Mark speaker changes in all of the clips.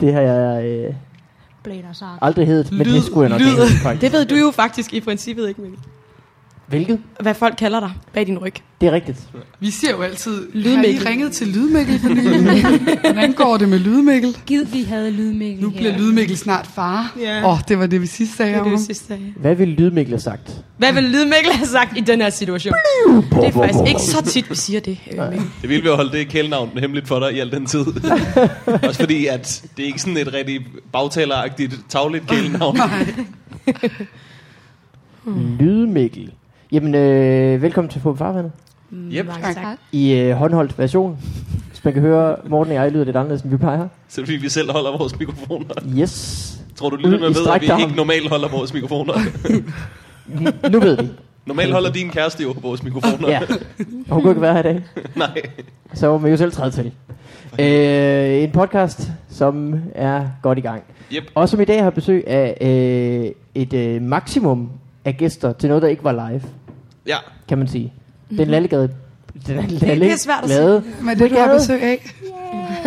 Speaker 1: Det har jeg øh,
Speaker 2: Blader sagt.
Speaker 1: aldrig heddet, men
Speaker 3: Lyd-
Speaker 1: det skulle jeg nok
Speaker 3: lyd.
Speaker 1: hedde, faktisk.
Speaker 4: Det ved du jo faktisk i princippet ikke, Mikkel.
Speaker 1: Hvilket?
Speaker 4: Hvad folk kalder dig bag din ryg.
Speaker 1: Det er rigtigt.
Speaker 3: Vi siger jo altid,
Speaker 4: Lydmikkel.
Speaker 3: har I ringet til Lydmikkel for nylig? Hvordan går det med Lydmikkel?
Speaker 2: Gid, vi havde lydmikkel
Speaker 3: Nu
Speaker 2: her.
Speaker 3: bliver Lydmikkel snart far. Åh,
Speaker 4: Ja.
Speaker 3: oh, det var det, vi sidst sagde
Speaker 4: Det er
Speaker 3: om
Speaker 4: det
Speaker 3: ham.
Speaker 4: sidste. ja.
Speaker 1: Hvad ville Lydmikkel have sagt?
Speaker 4: Hvad vil Lydmikkel have sagt i den her situation? Det er faktisk ikke så tit, vi siger det. øh, Mikkel.
Speaker 5: Det ville vi jo holde det kælenavn hemmeligt for dig i al den tid. Også fordi, at det er ikke sådan et rigtig bagtaleragtigt, tagligt kælenavn.
Speaker 1: Lydmikkel. Jamen, øh, velkommen til Fåben Farvandet.
Speaker 5: Yep.
Speaker 4: Mm, Mange tak.
Speaker 1: I øh, håndholdt version. Hvis man kan høre, Morten og jeg lyder lidt anderledes, end vi plejer.
Speaker 5: Så fordi vi selv holder vores mikrofoner.
Speaker 1: Yes.
Speaker 5: Tror du,
Speaker 1: Ud
Speaker 5: lytterne
Speaker 1: i
Speaker 5: ved, at
Speaker 1: strakt
Speaker 5: vi
Speaker 1: arm.
Speaker 5: ikke normalt holder vores mikrofoner?
Speaker 1: N- nu ved vi.
Speaker 5: Normalt holder din kæreste jo vores mikrofoner.
Speaker 1: Ja. Og hun kunne ikke være her i dag.
Speaker 5: Nej.
Speaker 1: Så må man jo selv træde til. Øh, en podcast, som er godt i gang.
Speaker 5: Yep.
Speaker 1: Og som i dag har besøg af øh, et øh, maksimum af gæster til noget, der ikke var live,
Speaker 5: Ja.
Speaker 1: kan man sige. Den lallegade... Den er lalle,
Speaker 4: Mhm. det er svært at sige.
Speaker 1: lade,
Speaker 3: Hvad er det, du har besøg af?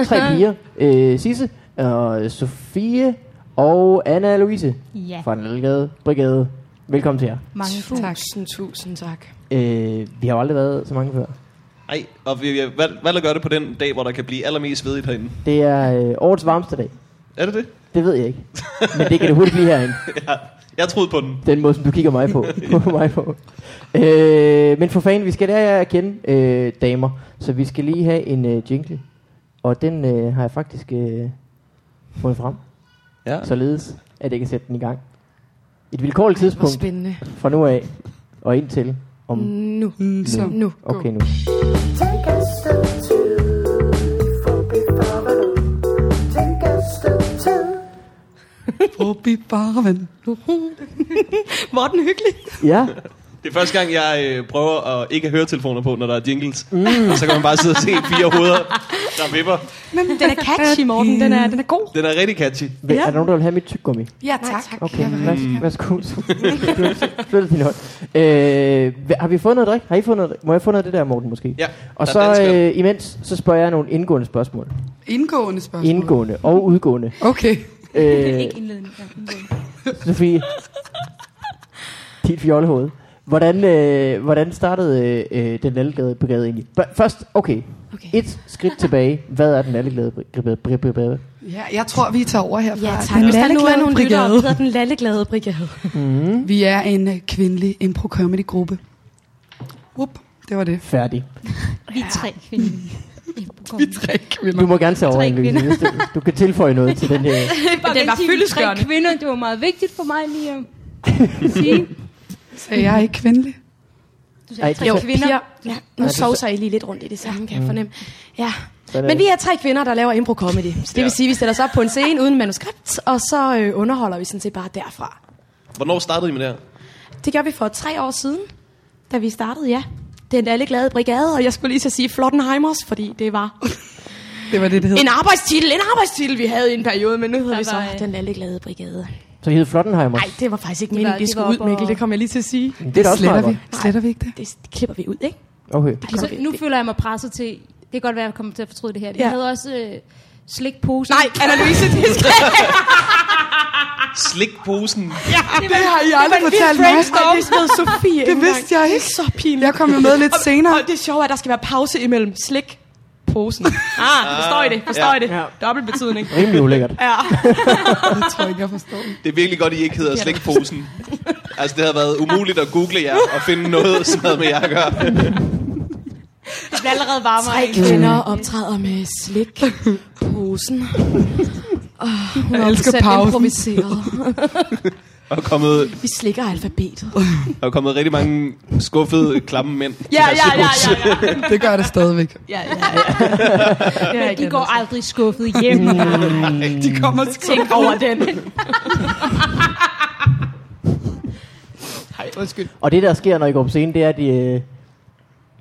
Speaker 1: Tre piger. Øh, Sisse, og Sofie og Anna Louise
Speaker 2: Ja.
Speaker 1: fra den Lallegade Brigade. Velkommen til jer.
Speaker 2: Mange fu.
Speaker 4: Tusind, tusind tak.
Speaker 1: Øh, vi har jo aldrig været så mange før.
Speaker 5: Ej, og vi, vi- hvad, hvad der gør det på den dag, hvor der kan blive allermest vedigt herinde?
Speaker 1: Det er øh, årets varmeste dag.
Speaker 5: Er det det?
Speaker 1: Det ved jeg ikke. Men det kan det hurtigt blive herinde.
Speaker 5: Ja. Jeg troede på den.
Speaker 1: Den måde, som du kigger mig på. på, mig på. Øh, men for fanden, vi skal lære jer at kende øh, damer. Så vi skal lige have en øh, jingle. Og den øh, har jeg faktisk øh, fundet frem.
Speaker 5: Ja.
Speaker 1: Således, at jeg kan sætte den i gang. Et vilkårligt tidspunkt.
Speaker 4: Hvor spændende.
Speaker 1: fra nu af og indtil om...
Speaker 4: Nu.
Speaker 3: Mm, så.
Speaker 4: Nu.
Speaker 1: Okay nu.
Speaker 6: Take a step two, for before the Take a step two.
Speaker 3: Forbi barven.
Speaker 4: Morten Hyggelig.
Speaker 1: Ja,
Speaker 5: Det er første gang, jeg øh, prøver at ikke at høre telefoner på, når der er jingles. Mm. Og så kan man bare sidde og se fire hoveder, der vipper.
Speaker 4: Den er catchy, Morten. Den er, den er god.
Speaker 5: Den er rigtig catchy.
Speaker 1: ja. er der nogen, der vil have mit tyggegummi?
Speaker 3: Ja, tak.
Speaker 1: Okay, Værs, værsgo. Flyt din hånd. Øh, hva- har vi fået noget drik? Har I fået noget drik? Må jeg få noget af det der, Morten, måske?
Speaker 5: Ja,
Speaker 1: Og
Speaker 5: der er
Speaker 1: så
Speaker 5: dansker.
Speaker 1: øh, imens, så spørger jeg nogle indgående spørgsmål.
Speaker 3: Indgående spørgsmål.
Speaker 1: Indgående og udgående.
Speaker 3: Okay.
Speaker 1: Øh,
Speaker 2: Ikke indledende. Ja, indledende.
Speaker 1: Sofie, dit fjollehoved. Hvordan, øh, hvordan startede øh, øh, den nallegade brigade egentlig? Bør- Først, okay.
Speaker 2: Okay.
Speaker 1: Et skridt tilbage. Hvad er den nallegade brigade? brigade?
Speaker 3: Ja, jeg tror, vi tager over herfra.
Speaker 2: Ja, tak.
Speaker 3: Den
Speaker 4: Hvis der nu er
Speaker 3: lalleglade
Speaker 4: nogle lyttere,
Speaker 3: brigade.
Speaker 4: der hedder den lalleglade brigade.
Speaker 3: Vi er en øh, kvindelig impro-comedy-gruppe. Up, det var det.
Speaker 1: Færdig.
Speaker 2: Vi er tre kvinder.
Speaker 3: Vi er tre
Speaker 1: Du
Speaker 3: kvinder.
Speaker 1: må gerne tage over,
Speaker 2: Tre
Speaker 1: Louise.
Speaker 2: kvinder.
Speaker 1: hvis du- Du kan tilføje noget til den her.
Speaker 2: Bare
Speaker 4: Den var
Speaker 2: vigtigt, vi er
Speaker 4: fyldestgørende.
Speaker 2: Tre kvinder, det var meget vigtigt for mig lige at sige.
Speaker 3: Så jeg er ikke kvindelig.
Speaker 2: Du sagde
Speaker 1: Ej,
Speaker 2: tre
Speaker 1: det
Speaker 4: Jo,
Speaker 1: er
Speaker 2: kvinder.
Speaker 4: piger. Ja, nu
Speaker 1: det er
Speaker 4: sovser I lige lidt rundt i det samme, kan jeg fornemme. Ja.
Speaker 1: Sådan er
Speaker 4: Men
Speaker 1: det.
Speaker 4: vi er tre kvinder, der laver impro-comedy. Så det
Speaker 5: Ja.
Speaker 4: vil sige, at vi stiller os op på en scene uden manuskript, og så øh, underholder vi sådan set bare derfra.
Speaker 5: Hvornår startede I med det her?
Speaker 4: Det gør vi for tre år siden, da vi startede, ja. Den alle glade brigade, og jeg skulle lige så sige Flottenheimers, fordi det var
Speaker 3: Det var det, det hed.
Speaker 4: en arbejdstitel, en arbejdstitel, vi havde i en periode, men nu hedder vi så
Speaker 2: var, øh,
Speaker 4: Den alle glade brigade.
Speaker 1: Så I hedder Flottenheimer.
Speaker 4: Nej, det var faktisk ikke
Speaker 2: De
Speaker 4: meningen,
Speaker 2: var-
Speaker 4: det
Speaker 2: de
Speaker 4: skulle
Speaker 2: var
Speaker 4: ud,
Speaker 2: oppe og-
Speaker 4: Mikkel, det kom jeg lige til at sige.
Speaker 1: Det er da også meget
Speaker 3: sletter
Speaker 1: godt.
Speaker 3: vi. Sletter vi ikke det?
Speaker 4: Det klipper vi ud, ikke?
Speaker 1: Okay.
Speaker 4: Det
Speaker 2: Altså,
Speaker 4: klipper vi.
Speaker 2: nu
Speaker 4: Det-
Speaker 2: føler jeg mig presset til... Det kan godt være, at jeg kommer til at fortryde det her. Vi
Speaker 4: Ja.
Speaker 2: havde også øh, slikposen.
Speaker 4: Nej, Anna-Louise, det skal
Speaker 5: Slikposen.
Speaker 3: Det har I aldrig fortalt mig.
Speaker 4: mig. Det smed Sofie ikke engang.
Speaker 3: vidste jeg ikke.
Speaker 4: Det er så pinligt.
Speaker 3: Jeg kom jo med lidt
Speaker 4: Og-
Speaker 3: senere.
Speaker 4: Og det sjove er, at der skal være pause imellem slik posen. Ah, forstår I det? Forstår I det?
Speaker 1: Ja.
Speaker 4: Dobbelt betydning.
Speaker 1: Rimelig ulækkert.
Speaker 4: Ja.
Speaker 3: Jeg tror ikke, jeg forstår det.
Speaker 5: Det er virkelig godt, I ikke hedder slikposen. Altså, det havde været umuligt at google jer og finde noget, som havde med jer at gøre.
Speaker 2: Det bliver allerede varmere.
Speaker 4: Tre kvinder optræder med slik posen. Oh, hun er
Speaker 3: Jeg elsker
Speaker 4: 100%
Speaker 3: pausen.
Speaker 4: improviseret.
Speaker 5: Og kommet,
Speaker 4: Vi slikker alfabetet.
Speaker 5: og kommet rigtig mange skuffede, klamme mænd.
Speaker 4: Ja, ja, ja, ja, ja.
Speaker 3: Det gør det stadigvæk.
Speaker 4: ja, ja, ja.
Speaker 2: Men de går aldrig skuffet hjem.
Speaker 3: De kommer til
Speaker 4: Tænk over den. Hej, undskyld.
Speaker 1: Og det, der sker, når I går på scenen, det er, at I, øh,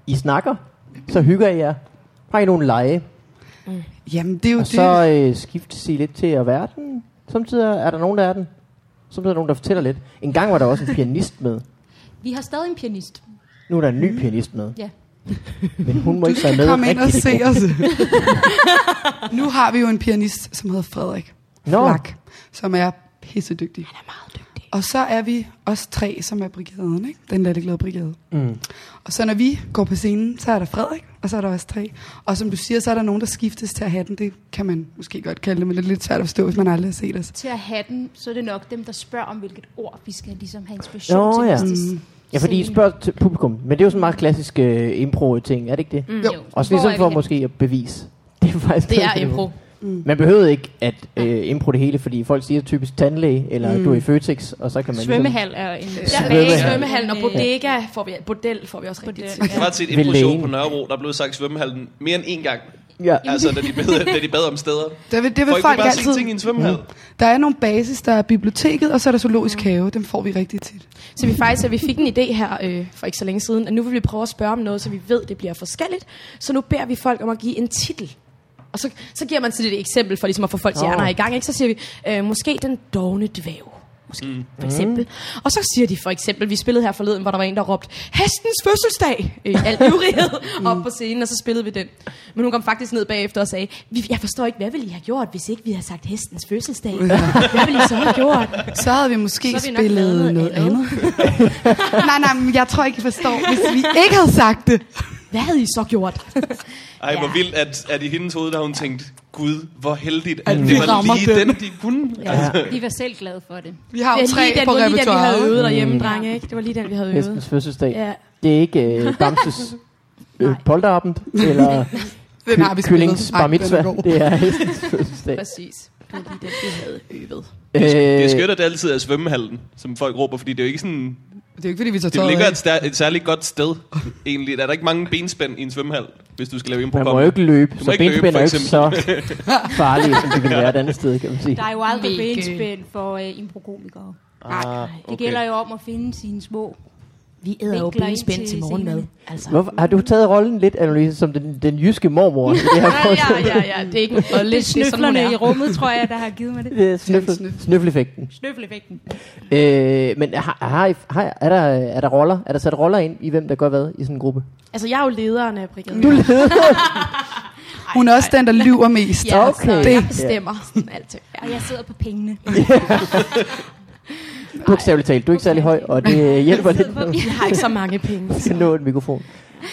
Speaker 1: I snakker. Så hygger I jer. Har I nogle lege?
Speaker 3: Jamen, det er jo
Speaker 1: Og
Speaker 3: det.
Speaker 1: så øh, skiftes I lidt til at være den. Samtidig er der nogen, der er den. Samtidig er der nogen, der fortæller lidt. En gang var der også en pianist med.
Speaker 2: Vi har stadig en pianist.
Speaker 1: Nu er der en ny pianist med.
Speaker 2: Ja.
Speaker 1: Men hun må
Speaker 3: Du
Speaker 1: ikke være
Speaker 3: skal
Speaker 1: med
Speaker 3: komme ind og
Speaker 1: rigtigt. i
Speaker 3: se
Speaker 1: gruppen.
Speaker 3: os. nu har vi jo en pianist, som hedder Frederik.
Speaker 1: Nå.
Speaker 3: Flak, som er pissedygtig.
Speaker 4: Han er meget dygtig.
Speaker 3: Og så er vi os tre, som er brigaden, ikke? Den latterglade brigade.
Speaker 1: Mm.
Speaker 3: Og så når vi går på scenen, så er der Frederik, og så er der også tre. Og som du siger, så er der nogen, der skiftes til at have den. Det kan man måske godt kalde det, men det er lidt svært at forstå, hvis man aldrig har set os.
Speaker 7: Til at have den, så er det nok dem, der spørger om, hvilket ord vi skal ligesom have inspiration
Speaker 1: Nå,
Speaker 7: til.
Speaker 1: ja. Mm.
Speaker 7: hvis det-
Speaker 1: Ja, fordi I
Speaker 7: scene.
Speaker 1: spørger til publikum. Men det er jo sådan en meget klassisk øh, impro-ting, er det ikke det? Mm.
Speaker 7: Jo.
Speaker 1: Også
Speaker 7: Hvor
Speaker 1: ligesom
Speaker 7: er vi
Speaker 1: for
Speaker 7: henne?
Speaker 1: måske at bevise. Det er faktisk
Speaker 4: Det er
Speaker 1: noget,
Speaker 4: impro.
Speaker 3: Mm.
Speaker 1: Man behøvede ikke at øh, impro det hele, fordi folk siger typisk tandlæge, eller mm. du er i Føtex, og så kan man ligesom-
Speaker 7: Svømmehal er en...
Speaker 4: Ja,
Speaker 1: Svømmehal.
Speaker 4: svømmehallen og bodega får vi, bordel får vi også rigtig
Speaker 7: Bordel.
Speaker 4: tit.
Speaker 5: Jeg var til et
Speaker 1: Ved
Speaker 5: impro-show
Speaker 1: lægen.
Speaker 5: på Nørrebro, der blev sagt svømmehallen mere end én gang.
Speaker 1: Ligesom, ja.
Speaker 5: Altså, da de bad, da de bad om steder.
Speaker 3: Der vil, det vil
Speaker 5: Folk
Speaker 3: folk,
Speaker 5: vil bare
Speaker 3: altid...
Speaker 5: sige ting i en svømmehal.
Speaker 3: Der er nogle basis, der er biblioteket, og så er der zoologisk
Speaker 4: Mm.
Speaker 3: have. Dem får vi rigtig tit.
Speaker 4: Så vi faktisk, at vi fik en idé her øh, for ikke så længe siden, at nu vil vi prøve at spørge om noget, så vi ved, det bliver forskelligt. Så nu beder vi folk om at give en titel. Og så, så giver man sådan et eksempel for ligesom at få folks
Speaker 1: Åh.
Speaker 4: hjerner i gang. Ikke? Så siger vi, øh, måske den dogne dvæv. Måske, mm. for eksempel. Og så siger de for eksempel, vi spillede her forleden, hvor der var en, der råbte, hestens fødselsdag, Øh, i al ivrighed, op på scenen, og så spillede vi den. Men hun kom faktisk ned bagefter og sagde, "Vi- jeg forstår ikke, hvad ville I have gjort, hvis ikke vi havde sagt hestens fødselsdag? Hvad ville I så have gjort?
Speaker 3: Så havde vi måske
Speaker 4: Så
Speaker 3: så
Speaker 4: har vi
Speaker 3: vi
Speaker 4: nok
Speaker 3: spillet noget,
Speaker 4: lavet noget
Speaker 3: noget andet. nej, nej, men jeg tror ikke, I forstår, hvis vi ikke havde sagt det.
Speaker 4: Hvad havde I så gjort?
Speaker 5: Ej, hvor
Speaker 4: Ja.
Speaker 5: vildt, at, at i hendes hoved, der har hun tænkt, Gud, hvor heldigt, at det
Speaker 3: vi
Speaker 5: var
Speaker 3: rammer
Speaker 5: lige
Speaker 3: den."
Speaker 5: den, de kunne. Altså, Ja.
Speaker 7: Vi var selv glade for det.
Speaker 3: Vi har jo
Speaker 4: Det var
Speaker 3: tre
Speaker 4: lige den,
Speaker 3: på
Speaker 4: det var lige den, vi havde
Speaker 3: repertoireet.
Speaker 4: øvet derhjemme,
Speaker 1: Mm.
Speaker 4: drenge. Ikke? Det var lige den, vi havde øvet.
Speaker 1: Hestens fødselsdag. Ja.
Speaker 4: Ja.
Speaker 1: Det er ikke øh, Bamses øh,
Speaker 4: Nej.
Speaker 1: polterabend, eller
Speaker 3: Hvem har vi
Speaker 1: ky- kyllings
Speaker 3: spillet?
Speaker 1: bar
Speaker 3: Ej, den
Speaker 1: mitzvah.
Speaker 3: er god.
Speaker 1: Det er hestens fødselsdag.
Speaker 4: Præcis. Det var lige den, vi havde øvet.
Speaker 5: Det er skønt,
Speaker 1: Øh,
Speaker 5: at det altid er svømmehallen, som folk råber, fordi det er jo ikke sådan...
Speaker 3: Det er jo ikke, fordi vi tager
Speaker 5: Det
Speaker 3: tøjet
Speaker 5: ligger
Speaker 3: af.
Speaker 5: et, stær- et særligt godt sted, egentlig. Der er der ikke mange benspænd i en svømmehal, hvis du skal lave impro
Speaker 1: man må jo ikke løbe,
Speaker 5: må
Speaker 1: så
Speaker 5: ikke løbe,
Speaker 1: benspænd er
Speaker 5: for
Speaker 1: jo ikke så farlige, som det kan være et andet sted, kan man sige.
Speaker 7: Der er jo aldrig
Speaker 4: Mega.
Speaker 7: benspænd for øh, improkomikere.
Speaker 5: Ah,
Speaker 7: Det gælder jo om at finde sine små.
Speaker 4: Vi æder jo
Speaker 7: Vinkler ind
Speaker 4: benspænd
Speaker 7: til
Speaker 4: til morgenmad. Altså.
Speaker 1: Hvorfor, har du taget rollen lidt, Annelise, som den, den jyske mormor i det her
Speaker 4: Ja,
Speaker 1: forhold?
Speaker 4: ja, ja, ja. Det er ikke en bolle.
Speaker 7: Det
Speaker 4: hun
Speaker 7: er snøflerne i
Speaker 4: er.
Speaker 7: rummet, tror jeg, der har givet mig det.
Speaker 1: Det er snøffel,
Speaker 3: Snøf.
Speaker 1: snøffeleffekten.
Speaker 7: Snøffeleffekten.
Speaker 1: Øh, men har, har, I- har, er, der, er der roller? Er der sat roller ind i, hvem der gør hvad i sådan en gruppe?
Speaker 4: Altså, jeg er jo lederen af brigaden.
Speaker 1: Du leder!
Speaker 3: Hun er også den, der lyver mest.
Speaker 4: ja, okay.
Speaker 1: Okay.
Speaker 4: Så jeg
Speaker 1: Det-
Speaker 4: bestemmer sådan alt. Ja.
Speaker 7: Og jeg sidder på pengene.
Speaker 1: Bogstaveligt talt, du er ikke særlig høj, og det øh, hjælper lidt med
Speaker 4: Jeg har ikke så mange penge.
Speaker 1: at nå en mikrofon.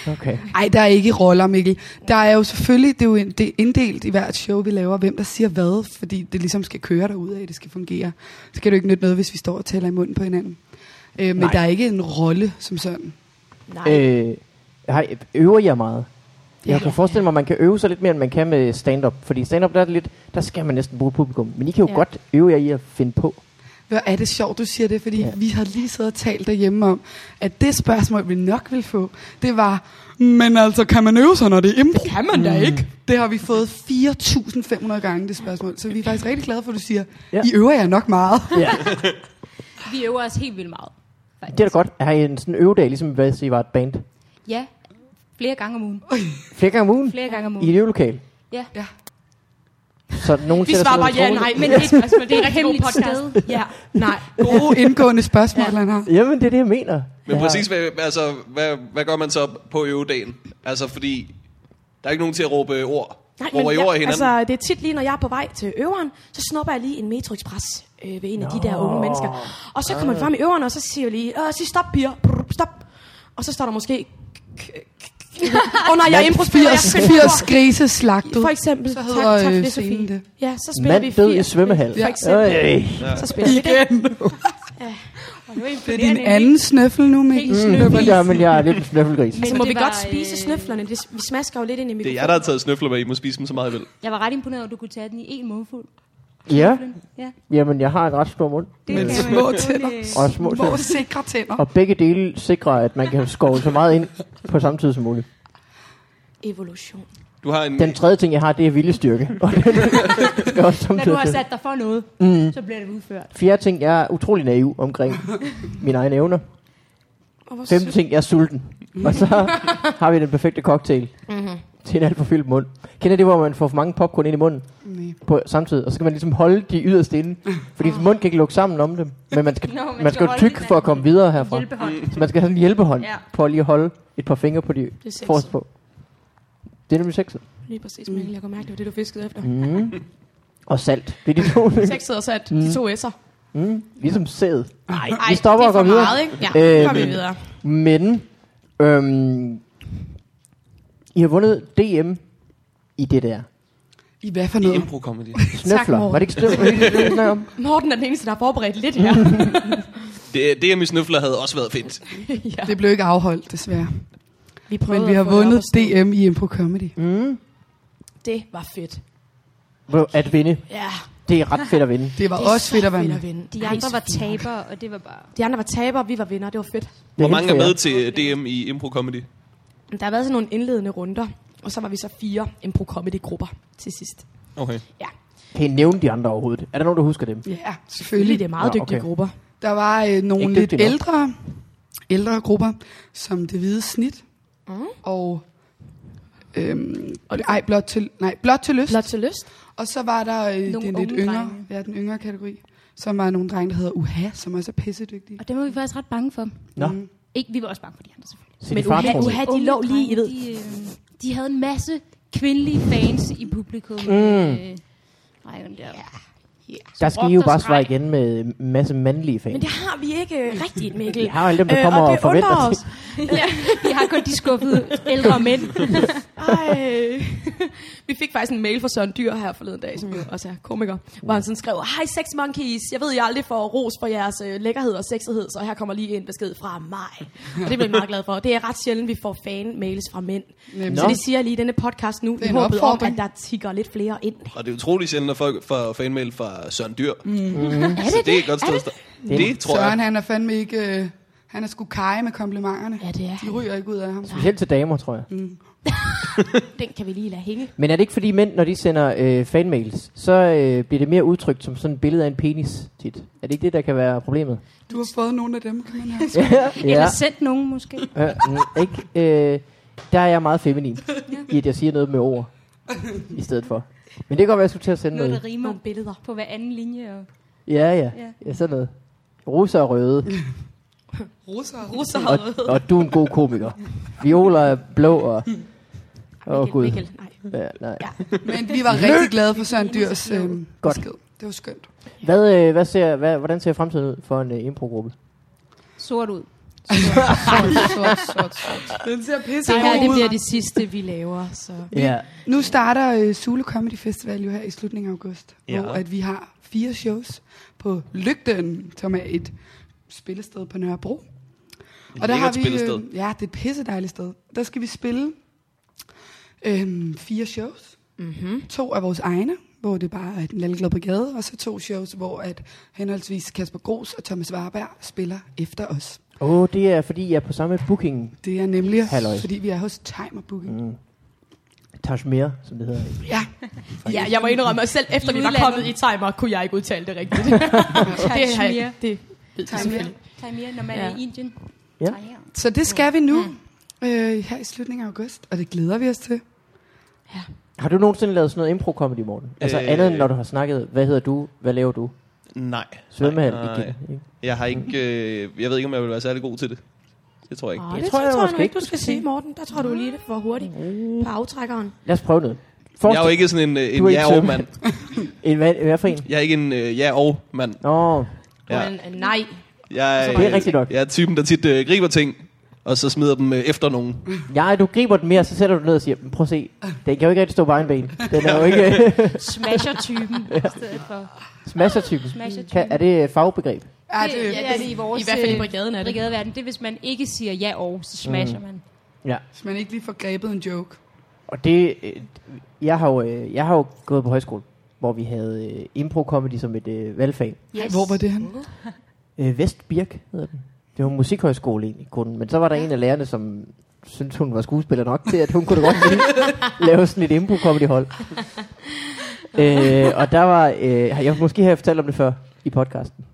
Speaker 1: Okay.
Speaker 3: Ej, der er ikke roller, Mikkel. Der er jo selvfølgelig, det er jo en- det er inddelt i hvert show, vi laver, hvem der siger hvad, fordi det ligesom skal køre derude af, det skal fungere. Så kan det jo ikke nytte noget, hvis vi står og taler i munden på hinanden. Øh, men
Speaker 1: Nej.
Speaker 3: der er ikke en rolle som sådan.
Speaker 4: Nej.
Speaker 1: Øh, har, I- øver jeg meget? Jeg kan forestille mig, at man kan øve sig lidt mere, end man kan med stand-up. Fordi stand-up, der, er det lidt, der skal man næsten bruge publikum. Men I kan jo ja.
Speaker 4: Ja.
Speaker 1: godt øve jer i at finde på.
Speaker 3: Hvor er det sjovt, du siger det, fordi
Speaker 1: Ja.
Speaker 3: ja. vi har lige siddet og talt derhjemme om, at det spørgsmål, vi nok ville få, det var, men altså, kan man øve sig, når det er impro? Det kan man da ikke. Det har vi fået 4.500 gange, det spørgsmål. Så vi er faktisk rigtig glade for, at du siger,
Speaker 1: Ja.
Speaker 3: ja. I øver jer nok meget.
Speaker 1: Ja.
Speaker 7: Vi øver os helt vildt meget.
Speaker 1: Det er da godt. Har I en sådan øvedag, ligesom hvis I var et band?
Speaker 7: Ja, flere gange om ugen.
Speaker 1: Flere gange om ugen?
Speaker 7: Flere gange om
Speaker 1: I
Speaker 7: ugen.
Speaker 1: et øvelokale?
Speaker 7: Ja.
Speaker 3: Ja.
Speaker 1: Så nogen
Speaker 4: Vi
Speaker 1: sætter sig
Speaker 4: svarer
Speaker 1: ned
Speaker 4: bare
Speaker 1: og
Speaker 4: ja
Speaker 1: trommel-
Speaker 4: nej, men
Speaker 7: Men
Speaker 4: det, altså,
Speaker 7: det, spørgsmål,
Speaker 4: det er et rigtig god
Speaker 7: hemmeligt
Speaker 4: podcast.
Speaker 7: sted.
Speaker 4: Ja, nej.
Speaker 3: Gode indgående spørgsmål, ja. han har.
Speaker 1: Jamen, det er det, jeg mener.
Speaker 5: Men
Speaker 1: ja.
Speaker 5: præcis, hvad, altså, hvad, hvad gør man så på øvedagen? Altså, fordi der er ikke nogen til at råbe ord. råber I ord i
Speaker 4: jeg,
Speaker 5: hinanden?
Speaker 4: altså, det er tit lige, når jeg er på vej til øveren, så snupper jeg lige en Metro Express øh, ved en af de der unge mennesker. Og så kommer de frem i øveren, og så siger jeg lige, øh, sig stop, piger, Brr, stop. Og så står der måske... Åh oh, nej, jeg er improspiller, jeg
Speaker 3: 80,
Speaker 4: er kvindeord.
Speaker 3: 80 grise slagtet.
Speaker 4: For eksempel,
Speaker 3: Så
Speaker 4: tak,
Speaker 3: hedder,
Speaker 4: tak for
Speaker 3: øh,
Speaker 4: det,
Speaker 3: scenen
Speaker 4: Sofie.
Speaker 3: det.
Speaker 4: Ja, så spiller
Speaker 1: Mand
Speaker 4: vi
Speaker 1: død i
Speaker 4: firs.
Speaker 1: svømmehal.
Speaker 4: For eksempel,
Speaker 1: Øj.
Speaker 4: så spiller vi det.
Speaker 3: Det er din anden snøffel nu, Mikkel.
Speaker 7: Helt
Speaker 1: Mm, ja, men jeg er lidt en snøffelgris.
Speaker 4: Så
Speaker 7: Men
Speaker 4: må
Speaker 7: det
Speaker 4: vi
Speaker 7: var,
Speaker 4: godt spise
Speaker 7: øh,
Speaker 4: snøflerne. Det- Vi smasker jo lidt ind i
Speaker 5: Det er
Speaker 4: mikrofonen.
Speaker 5: jer, der har taget snøfler med. I må spise dem så meget, I vil.
Speaker 7: Jeg var ret imponeret, over, at du kunne tage den i en mundfuld.
Speaker 1: Ja,
Speaker 7: Ja,
Speaker 1: jamen jeg har en ret stor mund.
Speaker 7: det
Speaker 3: Men
Speaker 7: kan
Speaker 3: små
Speaker 7: man kun,
Speaker 3: tænder.
Speaker 7: øh,
Speaker 1: Og små
Speaker 3: Hvor
Speaker 1: tænder.
Speaker 3: sikre tænder.
Speaker 1: Og begge dele sikrer, at man kan skove så meget ind på samme tid som muligt.
Speaker 4: Evolution.
Speaker 5: Du har en...
Speaker 1: Den tredje ting, jeg har, det er viljestyrke. Og den skal også
Speaker 7: Når du
Speaker 1: samtidig
Speaker 7: har
Speaker 1: til.
Speaker 7: sat dig for noget, mm. så bliver det udført.
Speaker 1: Fjerde ting, jeg er utrolig naiv omkring mine egne evner.
Speaker 4: Og hvor
Speaker 1: Femte ting, jeg er sulten. Og så har vi den perfekte cocktail. Til en alt for fyldt mund. Kender I det, hvor man får for mange popcorn ind i munden?
Speaker 3: Nej.
Speaker 1: på samtidig, og så skal man ligesom holde de yderste inde, fordi ens mund kan ikke lukke sammen om dem, men man skal,
Speaker 7: Nå, man
Speaker 1: man man
Speaker 7: skal
Speaker 1: skal
Speaker 7: holde
Speaker 1: tykke
Speaker 7: hinanden.
Speaker 1: for at komme videre herfra.
Speaker 7: Hjælpehånd.
Speaker 1: Så man skal have sådan en hjælpehånd
Speaker 7: Ja.
Speaker 1: ja. på at lige holde et par fingre på de
Speaker 4: sexet.
Speaker 1: forreste på. Det er nemlig sexet.
Speaker 4: Lige præcis, Mikkel. Jeg kan mærke, det var det, du fiskede efter.
Speaker 1: Mm. Og salt. Det er de to.
Speaker 4: Sexet og sat, de to S'er.
Speaker 1: mm, ligesom sæd. Nej,
Speaker 4: Ej,
Speaker 1: vi stopper
Speaker 4: det
Speaker 1: og
Speaker 4: er for
Speaker 1: går videre.
Speaker 4: meget, ikke? Ja, øh, går vi
Speaker 1: Øhm,
Speaker 4: videre.
Speaker 1: Men øhm, I har vundet DM i det der.
Speaker 3: I hvad for
Speaker 5: I
Speaker 3: noget?
Speaker 5: impro-comedy.
Speaker 1: Snøfler.
Speaker 4: Morten.
Speaker 1: Var det ikke snøfler?
Speaker 4: Morten er den eneste, der har forberedt lidt her.
Speaker 5: Det, det, at min snøfler havde også været fedt.
Speaker 4: ja.
Speaker 3: Det blev ikke afholdt, desværre.
Speaker 4: vi
Speaker 3: Men vi har vundet DM i Impro Comedy.
Speaker 1: mm,
Speaker 4: Det var fedt.
Speaker 1: at vinde.
Speaker 4: Ja,
Speaker 1: Det er ret fedt at vinde.
Speaker 3: Det var
Speaker 4: det er
Speaker 3: også
Speaker 4: så
Speaker 3: fedt at være med.
Speaker 4: vinde.
Speaker 7: De andre var tabere, og det var bare...
Speaker 4: De andre var tabere, vi var vinder. Det var fedt.
Speaker 5: Hvor
Speaker 1: Det
Speaker 5: mange er
Speaker 1: helt
Speaker 5: med
Speaker 1: fair.
Speaker 5: til DM i impro-comedy?
Speaker 4: Men Der har været sådan nogle indledende runder, og så var vi så fire impro-comedy-grupper til sidst.
Speaker 5: Okay.
Speaker 1: Kan I nævne de andre overhovedet? Er der nogen, der husker dem?
Speaker 3: Ja,
Speaker 4: Fordi
Speaker 3: selvfølgelig.
Speaker 4: det er meget
Speaker 1: Nå,
Speaker 4: dygtige
Speaker 1: okay.
Speaker 4: grupper.
Speaker 3: Der var øh, nogle
Speaker 1: Ikke
Speaker 3: lidt
Speaker 1: dygtig nok.
Speaker 3: ældre, ældre grupper, som det hvide snit, mm. og øhm, ej, blot til, nej, blot til lyst.
Speaker 4: Blot til lyst.
Speaker 3: Og så var der øh,
Speaker 7: Nogle
Speaker 3: den lidt
Speaker 7: unge
Speaker 3: yngre,
Speaker 7: drenge.
Speaker 3: ja, den yngre kategori, som var nogle drenge, der hedder Uha, som også er pissedygtige.
Speaker 7: Og det var vi faktisk ret bange for.
Speaker 1: Nå.
Speaker 3: Mm.
Speaker 7: Ikke, vi var også bange for de andre, selvfølgelig.
Speaker 1: Sige
Speaker 4: Men
Speaker 1: de fartrum.
Speaker 4: uha- uha- Ja, de lå lige, I ved.
Speaker 7: De, øh, de havde en masse kvindelige fans i publikum. Mm. Øh, nej, den der. Ja.
Speaker 1: Der skal I jo bare svare igen med en masse mandlige fans.
Speaker 4: Men det har vi ikke øh, rigtigt, Mikkel. Øh,
Speaker 1: Vi har alle dem, der kommer og,
Speaker 4: det
Speaker 1: forventer
Speaker 4: undrer
Speaker 1: ting.
Speaker 4: os.
Speaker 7: ja. Vi har kun de skuffede ældre mænd.
Speaker 4: Ej. Vi fik faktisk en mail fra Søren Dyr her forleden dag, som jo også er komiker, hvor han sådan skrev, Hej Sex Monkeys, jeg ved, jeg aldrig får ros for jeres øh, lækkerhed og sexighed, så her kommer lige en besked fra mig. Og det blev jeg meget glad for. Det er ret sjældent, vi får fan-mails fra mænd.
Speaker 3: Nemlig.
Speaker 4: Så det siger jeg lige i denne podcast nu,
Speaker 3: er
Speaker 4: i
Speaker 3: en
Speaker 4: håbet om, at
Speaker 3: opfordring.
Speaker 4: der tigger lidt flere ind.
Speaker 5: Og det er utroligt sjældent, at folk får fanmail fra Søren Dyr. Mm. Så
Speaker 4: Er det
Speaker 5: det er et godt sted. at starte. Det, det tror
Speaker 3: Søren,
Speaker 5: jeg.
Speaker 3: han er fandme ikke... Øh, han er sgu kaj med komplimenterne.
Speaker 4: Ja, det er
Speaker 3: De
Speaker 4: han.
Speaker 3: ryger ikke ud af ham.
Speaker 1: Specielt til damer, tror jeg.
Speaker 4: Den kan vi lige lade hænge.
Speaker 1: Men er det ikke fordi mænd, når de sender øh, fanmails, så øh, bliver det mere udtrykt som sådan et billede af en penis tit? Er det ikke det, der kan være problemet?
Speaker 3: Du har fået nogle af dem, kan man have.
Speaker 1: ja.
Speaker 7: Eller
Speaker 1: ja.
Speaker 7: sendt nogen, måske.
Speaker 1: Øh, mm, ikke? Øh, der er jeg meget feminin i, at jeg siger noget med ord i stedet for. Men det kan godt være, at jeg skulle til at sende
Speaker 7: Noget, der
Speaker 1: noget.
Speaker 7: rimer.
Speaker 4: Nogle billeder.
Speaker 7: På hver anden linje. Og...
Speaker 1: Ja, ja.
Speaker 7: Ja.
Speaker 1: ja sådan noget. Rosa og røde.
Speaker 3: Russer.
Speaker 4: Russer
Speaker 1: Og, og du er en god komiker. Viola er blå og... Åh, oh, Gud.
Speaker 4: Mikkel, nej.
Speaker 1: Ja, nej.
Speaker 4: Ja.
Speaker 3: Men vi var rigtig glade for Søren Dyrs øh,
Speaker 1: Godt.
Speaker 3: besked. Det var skønt.
Speaker 1: Hvad, øh, hvad ser, hvad, hvordan ser fremtiden ud for en øh, improgruppe?
Speaker 7: Sort ud.
Speaker 3: Sort, sort, sort. Den ser pisse
Speaker 7: Det her det
Speaker 3: ud.
Speaker 7: bliver det sidste, vi laver. Så.
Speaker 1: Ja.
Speaker 3: Nu starter øh, Zulu Comedy Festival jo her i slutningen af august,
Speaker 5: Ja.
Speaker 3: ja. hvor at vi har fire shows på Lygten, som er et spillested på Nørrebro.
Speaker 5: Et
Speaker 3: Og der har
Speaker 5: lækkert
Speaker 3: vi,
Speaker 5: spillested.
Speaker 3: øh, ja, det er et pisse dejligt sted. Der skal vi spille øh, fire shows. Mm-hmm. To af vores egne, hvor det bare er den lille glade brigade, og så to shows, hvor at henholdsvis Kasper Gros og Thomas Warberg spiller efter os.
Speaker 1: Åh, oh, det er fordi, jeg er på samme booking.
Speaker 3: Det er nemlig,
Speaker 1: Halløj.
Speaker 3: fordi vi er hos Timer Booking. Mm.
Speaker 1: Tashmir, som det hedder.
Speaker 3: Ja,
Speaker 4: Ja, jeg må indrømme, at selv efter vi var
Speaker 7: udlandet.
Speaker 4: kommet i timer, kunne jeg ikke udtale det rigtigt. det har jeg, det ved jeg
Speaker 3: Timer.
Speaker 4: selvfølgelig.
Speaker 7: Taimia, når man
Speaker 4: Ja.
Speaker 7: er i Indien.
Speaker 1: Ja.
Speaker 7: Thailand.
Speaker 3: Så det
Speaker 7: Mm.
Speaker 3: skal vi nu, øh, her i slutningen af august, og det glæder vi os til.
Speaker 1: Har du nogensinde lavet sådan noget impro-comedy, Morten? Altså
Speaker 5: Øh.
Speaker 1: andet end når du har snakket, hvad hedder du, hvad laver du?
Speaker 5: Nej.
Speaker 1: Svømmehal
Speaker 5: Nej, nej.
Speaker 1: igen. Ikke?
Speaker 5: Jeg har ikke... Øh, jeg ved ikke, om jeg vil være særlig god til det. Det tror jeg ikke.
Speaker 4: Åh,
Speaker 1: Det
Speaker 4: det,
Speaker 1: tror jeg
Speaker 4: tror jeg,
Speaker 1: måske ikke,
Speaker 4: nu ikke,
Speaker 1: du
Speaker 4: du skal
Speaker 1: skal
Speaker 4: sige, Oh. Morten. Der tror du lige det for hurtigt på aftrækkeren.
Speaker 1: Lad os prøve noget.
Speaker 5: Jeg er jo ikke sådan en, øh,
Speaker 1: Du er
Speaker 5: en
Speaker 1: ikke
Speaker 5: ja-og-mand.
Speaker 1: En, hvad, hvad for en?
Speaker 5: Jeg er ikke en øh, ja-og-mand.
Speaker 1: Nå, oh,
Speaker 5: Ja.
Speaker 4: Men, øh, nej,
Speaker 5: Jeg,
Speaker 1: Det er rigtigt nok.
Speaker 5: Jeg er typen, der tit øh, griber ting, og så smider dem øh, efter nogen.
Speaker 1: ja, du griber den mere, så sætter du den ned og siger, "Men prøv at se, den kan jo ikke rigtig stå på egen ben. Den er jo ikke
Speaker 7: Smasher-typen i stedet for.
Speaker 1: smasher-typen.
Speaker 7: Smasher-typen.
Speaker 1: Kan, er det et fagbegreb?
Speaker 3: Ja, Ah, det,
Speaker 7: ja, det er i vores
Speaker 4: i hvert fald i
Speaker 7: øh,
Speaker 4: brigaden er det.
Speaker 7: brigadeverden. Det er, hvis man ikke siger ja og, så smasher mm. man.
Speaker 1: Ja.
Speaker 3: Hvis man ikke lige får grebet en joke.
Speaker 1: Og det, øh, jeg har jo, øh, jeg har jo gået på højskole, hvor vi havde øh, impro-comedy som et øh, valgfag.
Speaker 3: Ej, hvor var det han?
Speaker 1: Øh, Vestbirk hedder den. Det var en musikhøjskole egentlig kun, men så var der en af lærerne, som syntes, hun var skuespiller nok til, at hun kunne da godt lide, lave sådan et impro comedy hold. øh, og der var, øh, jeg måske har jeg fortalt om det før i podcasten,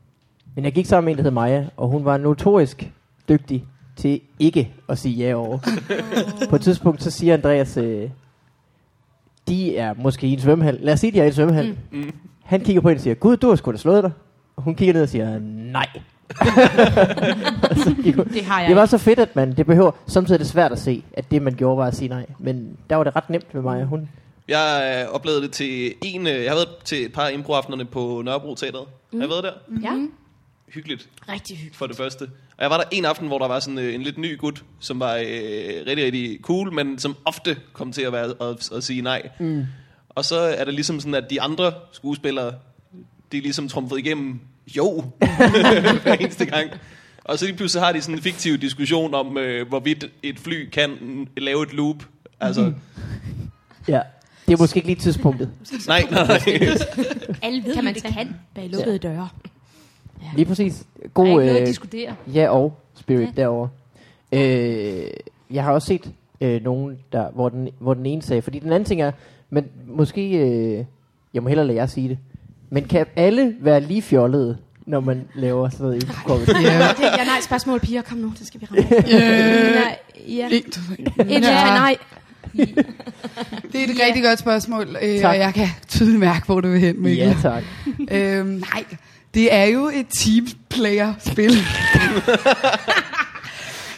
Speaker 1: men jeg gik sammen med en, der hed Maja, og hun var notorisk dygtig til ikke at sige ja over. På et tidspunkt, så siger Andreas, øh, de er måske i en svømmehal. Lad os sige, de er i en svømmehal. Mm. Han kigger på hende og siger, Gud, du har sgu da slået dig. Og hun kigger ned og siger, nej.
Speaker 4: det har jeg
Speaker 1: Det var så fedt, at man, det behøver, samtidig er det svært at se, at det man gjorde var at sige nej. Men der var det ret nemt med mig, hun,
Speaker 5: Jeg øh, oplevede det til en... øh, Jeg har været til et par improaftenerne på Nørrebro Teateret. Mm. Har jeg været der?
Speaker 4: Ja,
Speaker 5: Hyggeligt,
Speaker 4: rigtig hyggeligt.
Speaker 5: for det første. Og jeg var der en aften, hvor der var sådan øh, en lidt ny gut, som var øh, rigtig, rigtig cool, men som ofte kom til at, være, at, at sige nej. Mm. Og så er det ligesom sådan, at de andre skuespillere, de er ligesom trumfet igennem, jo, hver eneste gang. Og så lige pludselig har de sådan en fiktiv diskussion om, øh, hvorvidt et fly kan mm, lave et loop. Altså, mm.
Speaker 1: Ja. Det er måske ikke lige tidspunktet.
Speaker 5: nej, nej.
Speaker 7: Alle ved,
Speaker 4: Kan
Speaker 7: kan
Speaker 4: man
Speaker 7: man det
Speaker 4: tage-
Speaker 7: kan.
Speaker 4: Bag lukkede ja. døre.
Speaker 1: Lige præcis.
Speaker 7: Der er
Speaker 1: God,
Speaker 7: ikke noget at
Speaker 1: øh,
Speaker 7: diskutere.
Speaker 1: ja og spirit
Speaker 7: Ja.
Speaker 1: ja. derovre. Øh, jeg har også set øh, nogen, der, hvor, den, hvor den ene sagde, fordi den anden ting er, men måske, øh, jeg må hellere lade jer sige det, men kan alle være lige fjollede, når man laver sådan noget improvisation?
Speaker 3: Ja.
Speaker 4: Det er et ja, nej spørgsmål, piger. Kom nu, det skal vi ramme.
Speaker 3: Yeah.
Speaker 7: Nej, ja.
Speaker 3: Øh, En, to, tre.
Speaker 4: Et Øh, ja.
Speaker 3: Ja.
Speaker 4: nej.
Speaker 3: Det er et rigtig godt spørgsmål, øh,
Speaker 1: Tak.
Speaker 3: og jeg kan tydeligt mærke, hvor du vil hen, Mikkel.
Speaker 1: ja, tak.
Speaker 3: Øhm, nej, det er jo et teamplayer-spil.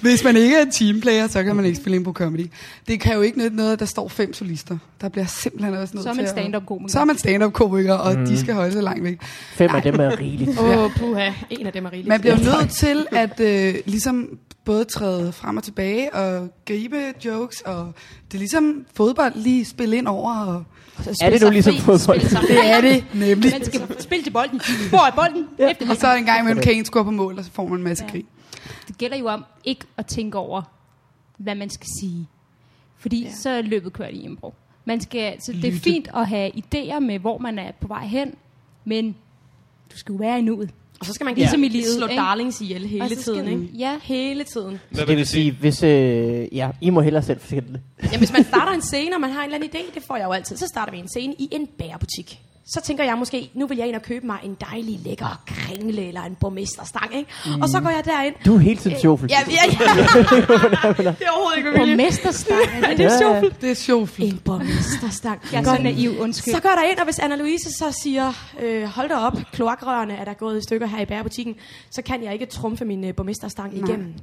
Speaker 3: Hvis man ikke er en teamplayer, så kan man ikke spille på comedy. Det kan jo ikke nytte noget, at der står fem solister. Der bliver simpelthen også nødt
Speaker 7: Så er
Speaker 3: til
Speaker 7: man
Speaker 3: at-
Speaker 7: stand-up-komiker.
Speaker 3: Så er man stand-up-komiker, og mm. de skal holde sig langt væk.
Speaker 1: Fem af dem er rigeligt.
Speaker 4: Åh, oh, puha. En af dem er rigeligt.
Speaker 3: Man bliver jo nødt til at øh, ligesom både træde frem og tilbage og gribe jokes, og det er ligesom fodbold lige spille ind over. Og
Speaker 1: Er det nu ligesom fodbold?
Speaker 3: det er det nemlig.
Speaker 7: Man skal spille til bolden. Hvor er bolden? Ja. Efter
Speaker 3: Og så en gang imellem kan en score på mål, og så får man en masse
Speaker 7: Ja.
Speaker 3: krig.
Speaker 7: Det gælder jo om ikke at tænke over, hvad man skal sige. Fordi ja. så er løbet kørt i impro. Man skal, så det er fint at have idéer med, hvor man er på vej hen, men du skal jo være i nuet.
Speaker 4: Og så skal man
Speaker 7: Ligesom
Speaker 4: ligesom
Speaker 7: i
Speaker 4: ja.
Speaker 7: livet,
Speaker 4: slå
Speaker 7: ikke?
Speaker 4: darlings ihjel hele
Speaker 7: Og så skal
Speaker 4: tiden,
Speaker 7: man-
Speaker 4: ikke?
Speaker 7: Ja.
Speaker 4: Hele tiden.
Speaker 5: Hvad
Speaker 1: Det vil sige, hvis, øh, ja, I må hellere selv fortælle det.
Speaker 4: Jamen, hvis man starter en scene, og man har en eller anden idé, det får jeg jo altid, så starter vi en scene i en bærebutik. Så tænker jeg måske, nu vil jeg ind og købe mig en dejlig, lækker kringle eller en borgmesterstang, ikke? Mm. Og så går jeg derind.
Speaker 1: Du er hele tiden sjovfuld.
Speaker 4: Ja, ja, ja. det er overhovedet ikke med vilje.
Speaker 7: Borgmesterstang. er det?
Speaker 1: Ja, ja.
Speaker 3: Det er sjovt.
Speaker 4: En borgmesterstang.
Speaker 7: Jeg er så naiv, undskyld.
Speaker 4: Så går der ind, og hvis Anna-Louise så siger, øh, hold da op, kloakrørene er der gået i stykker her i bærebutikken, så kan jeg ikke trumfe min øh, borgmesterstang igennem.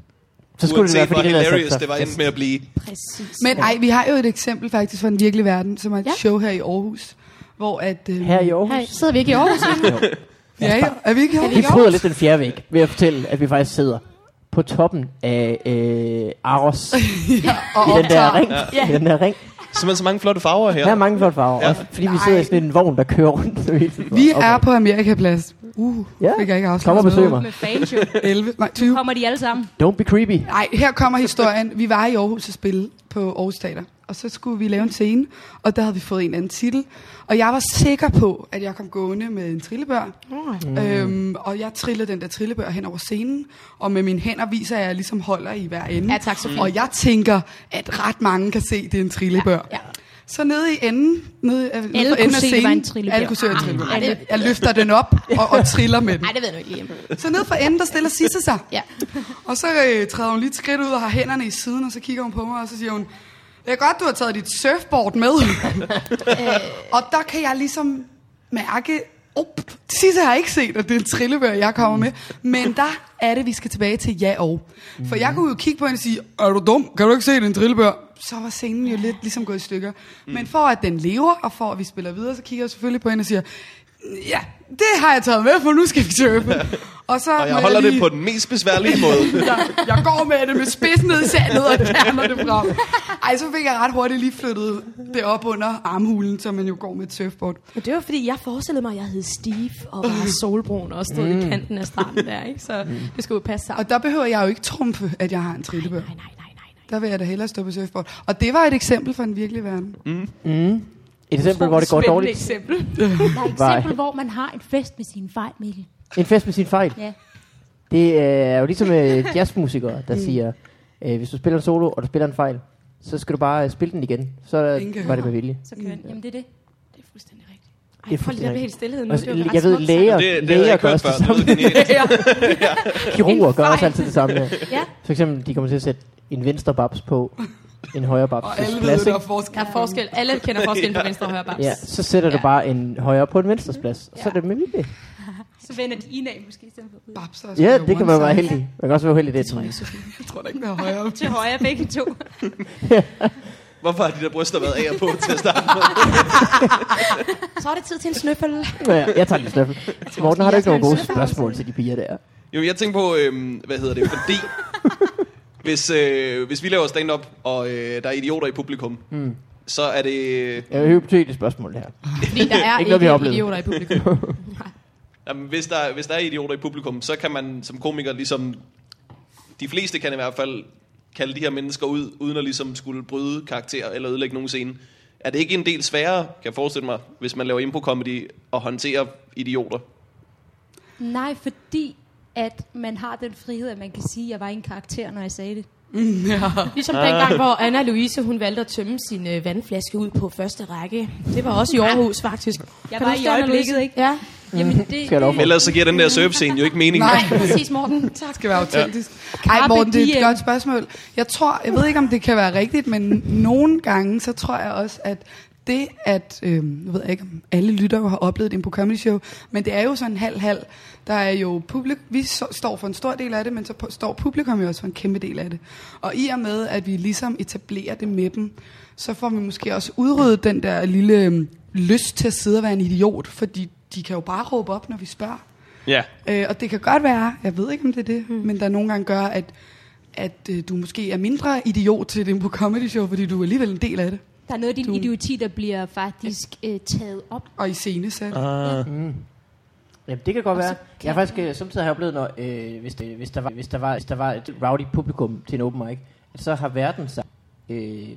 Speaker 1: Så skulle det være, fordi
Speaker 5: hvor
Speaker 1: den havde
Speaker 5: hilarious
Speaker 1: sat
Speaker 5: det var
Speaker 1: sig
Speaker 5: endt med at blive.
Speaker 4: Præcis.
Speaker 3: Men ej, vi har jo et eksempel faktisk fra den virkelige verden, som er et
Speaker 4: Ja.
Speaker 3: ja. show her i Aarhus, hvor at... Øh,
Speaker 1: her i Aarhus.
Speaker 7: Hej, sidder vi ikke i Aarhus?
Speaker 3: Ja, ja, er vi ikke i Aarhus?
Speaker 1: Vi bryder lidt den fjerde væg ved at fortælle, at vi faktisk sidder på toppen af øh, Aros i
Speaker 3: og
Speaker 1: den der ring.
Speaker 4: Ja.
Speaker 1: I den der ring.
Speaker 5: Så man så mange flotte farver her.
Speaker 1: Der er mange flotte farver,
Speaker 5: Ja.
Speaker 1: ja. også fordi vi sidder i sådan en vogn, der kører rundt.
Speaker 3: Vi er på Amerikaplads. Uh,
Speaker 1: Ja.
Speaker 3: ja. fik jeg ikke afsløret
Speaker 1: Kom og besøg
Speaker 3: noget.
Speaker 1: mig.
Speaker 7: Med fans jo.
Speaker 3: 11, nej, 20.
Speaker 7: Kommer de alle sammen?
Speaker 1: Don't be creepy.
Speaker 3: Nej, her kommer historien. Vi var i Aarhus og spille på Aarhus Teater, og så skulle vi lave en scene, og der havde vi fået en anden titel. Og jeg var sikker på, at jeg kom gående med en trillebør, mm. øhm, og jeg trillede den der trillebør hen over scenen, og med mine hænder viser jeg, at jeg ligesom holder i hver ende.
Speaker 7: Ja, tak, Sofie.
Speaker 3: Og jeg tænker, at ret mange kan se, at det er en trillebør.
Speaker 7: ja.
Speaker 3: Så nede i enden, nede, alle nede
Speaker 7: kunne
Speaker 3: for enden af
Speaker 7: se, det
Speaker 3: scenen,
Speaker 7: var en trillebør. Ah,
Speaker 3: alle kunne se, at det var en trillebær.
Speaker 7: Ej, det-
Speaker 3: Jeg løfter den op og, og triller med den.
Speaker 7: Nej, det ved du ikke lige.
Speaker 3: Så nede for enden, der stiller Sisse sig.
Speaker 7: Ja.
Speaker 3: Og så øh, træder hun lige et skridt ud og har hænderne i siden, og så kigger hun på mig, og så siger hun, det er godt, du har taget dit surfboard med. Øh. og der kan jeg ligesom mærke, op, Sisse har ikke set, at det er en trillebør, jeg kommer med. Men der er det, vi skal tilbage til ja og. For jeg
Speaker 5: Mhm.
Speaker 3: kunne jo kigge på hende og sige, er du dum? Kan du ikke se, det er en trillebør? Så var scenen jo lidt ligesom gået i stykker.
Speaker 5: Mm.
Speaker 3: Men for at den lever, og for at vi spiller videre, så kigger jeg selvfølgelig på hende og siger, ja, det har jeg taget med, for nu skal vi surfe. Og, så
Speaker 5: Og
Speaker 3: må
Speaker 5: jeg holder
Speaker 3: lige-
Speaker 5: det på den mest besværlige måde.
Speaker 3: jeg, jeg går med det med spidsen ned i sandet og kærner det frem. Ej, så fik jeg ret hurtigt lige flyttet det op under armhulen, som man jo går med et surfboard.
Speaker 4: Men det var fordi, jeg forestillede mig, at jeg hed Steve og
Speaker 1: Mm.
Speaker 4: var solbrun og stod mm. i kanten af stranden der, ikke? Så det skulle jo passe sammen.
Speaker 3: Og der behøver jeg jo ikke trumfe, at jeg har en trillebør.
Speaker 4: Nej, nej, nej, nej, nej.
Speaker 3: Der vil jeg da hellere stå på surfboard. Og det var et eksempel fra den virkelige verden.
Speaker 1: Mm. Et eksempel, hvor det går
Speaker 4: Spændende
Speaker 1: dårligt.
Speaker 4: eksempel.
Speaker 7: Der er et
Speaker 1: Nej.
Speaker 7: eksempel, hvor man har en fest med sine fejl, Mikkel.
Speaker 1: En fest med sin fejl.
Speaker 7: Ja.
Speaker 1: Det er jo ligesom øh, jazzmusikere, der siger, øh, hvis du spiller en solo, og du spiller en fejl, så skal du bare øh, spille den igen. Så
Speaker 3: Ingen kan
Speaker 1: øh, var
Speaker 3: høre.
Speaker 1: det med vilje.
Speaker 7: Så kører den. Jamen, det er det.
Speaker 4: Det er fuldstændig rigtigt.
Speaker 1: Det
Speaker 4: Ej,
Speaker 1: er
Speaker 4: prøv lige at
Speaker 1: fuldstændig
Speaker 4: blive helt stillhed nu.
Speaker 1: Og,
Speaker 4: det var ret
Speaker 1: Altså, jeg ved,
Speaker 4: smukt
Speaker 1: læger,
Speaker 5: Det, det havde
Speaker 1: læger
Speaker 5: jeg
Speaker 1: gør
Speaker 5: kørt
Speaker 1: også
Speaker 5: før.
Speaker 1: det
Speaker 5: Det
Speaker 1: samme.
Speaker 5: lyder genialt.
Speaker 1: Kirurger
Speaker 7: En
Speaker 1: gør
Speaker 7: fejl.
Speaker 1: også altid det samme. Ja.
Speaker 7: Ja.
Speaker 1: For eksempel, de kommer til at sætte en venstre babs på, en højre babs.
Speaker 3: Og
Speaker 1: til
Speaker 3: alle
Speaker 1: splads,
Speaker 3: ved, der
Speaker 1: ikke?
Speaker 3: er forskel.
Speaker 4: Der er forskel. Alle kender forskellen på venstre og højre bams.
Speaker 1: Ja, så sætter ja. du bare en højre på en venstres plads. Og så er det med vilje.
Speaker 7: Så vender de indad måske i stedet for ud.
Speaker 3: Babser,
Speaker 1: Ja, det kan man være heldig. Man kan også være heldig i det. tror jeg.
Speaker 3: Jeg tror da ikke, der er højere.
Speaker 7: Til højre begge to.
Speaker 5: Hvorfor har de der bryster været af og på til at starte med?
Speaker 4: Så er det tid til en snøffel.
Speaker 1: Ja, jeg tager lige snøffel. Morten, har du ikke nogen gode spørgsmål til de piger der?
Speaker 5: Jo, jeg tænker på, øhm, hvad hedder det, fordi... hvis, øh, hvis vi laver stand-up, og øh, der er idioter i publikum, mm. så er det...
Speaker 1: Ja, det er et hypotetisk spørgsmål det her.
Speaker 4: Fordi der er
Speaker 1: Ikke noget, vi har
Speaker 4: ikke,
Speaker 1: oplevet.
Speaker 4: idioter i publikum.
Speaker 5: Jamen, hvis, der, hvis der er idioter i publikum, så kan man som komiker ligesom... De fleste kan i hvert fald kalde de her mennesker ud, uden at ligesom skulle bryde karakter eller ødelægge nogen scene. Er det ikke en del sværere, kan jeg forestille mig, hvis man laver impro-comedy og håndterer idioter?
Speaker 7: Nej, fordi at man har den frihed, at man kan sige, at jeg var en karakter, når jeg sagde det.
Speaker 4: Ligesom dengang, hvor Anna Louise hun valgte at tømme sin øh, vandflaske ud på første række. Det var også i Aarhus, faktisk. Jeg
Speaker 7: var i øjeblikket, ikke?
Speaker 4: Ja. Jamen, det,
Speaker 1: Skal jeg lov for.
Speaker 5: Ellers så giver den der service-scene jo ikke mening.
Speaker 4: Nej, præcis, Morten. Tak.
Speaker 3: Det skal være autentisk. Ja. Ej, Morten, det er et
Speaker 7: diem.
Speaker 3: godt spørgsmål. Jeg tror, jeg ved ikke, om det kan være rigtigt, men nogle gange, så tror jeg også, at det at, øh, jeg ved ikke, om alle lytter jo har oplevet det på Comedy Show, men det er jo sådan halv-halv. Der er jo publik, vi så, står for en stor del af det, men så på, står publikum jo også for en kæmpe del af det. Og i og med, at vi ligesom etablerer det med dem, så får vi måske også udryddet den der lille øh, lyst til at sidde og være en idiot, fordi de kan jo bare råbe op, når vi spørger.
Speaker 5: Ja.
Speaker 3: Øh, og det kan godt være, jeg ved ikke om det er det, mm. men der nogle gange gør, at, at øh, du måske er mindre idiot til det på comedy show, fordi du er alligevel en del af det.
Speaker 7: Der er noget af din idioti, der bliver faktisk øh, taget op.
Speaker 3: Og i scenesat.
Speaker 1: Jamen, det kan godt være. Jeg har faktisk øh, samtidig har jeg oplevet, når, øh, hvis, det, hvis, der var, hvis, der var, hvis der var et rowdy publikum til en open mic, at så har verden sagt, øh, det,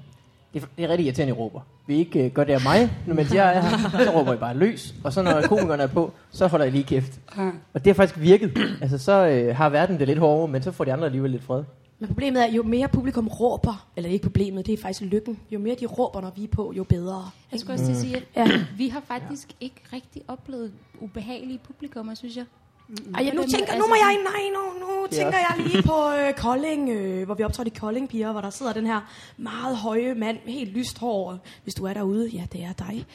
Speaker 1: er, det er rigtig irriterende, I råber. Vi ikke øh, gør det af mig, men mens jeg er her, så råber I bare løs. Og så når komikerne er på, så holder jeg lige kæft.
Speaker 3: Ja.
Speaker 1: Og det har faktisk virket. Altså, så øh, har verden det lidt hårdere, men så får de andre alligevel lidt fred.
Speaker 4: Men problemet er, jo mere publikum råber, eller det er ikke problemet, det er faktisk lykken. Jo mere de råber, når vi er på, jo bedre.
Speaker 7: Jeg skulle også
Speaker 5: Mm.
Speaker 7: til at sige, at
Speaker 4: Ja.
Speaker 7: vi har faktisk ikke rigtig oplevet ubehagelige publikummer, synes jeg.
Speaker 4: Ej, jeg nu
Speaker 7: Hvordan-
Speaker 4: tænker, nu
Speaker 7: altså-
Speaker 4: må jeg, nej, nu, nu tænker
Speaker 1: Ja.
Speaker 4: jeg lige på øh, Kolding, øh, hvor vi optrådte i Kolding, piger, hvor der sidder den her meget høje mand med helt lyst hår. Hvis du er derude, ja, det er dig.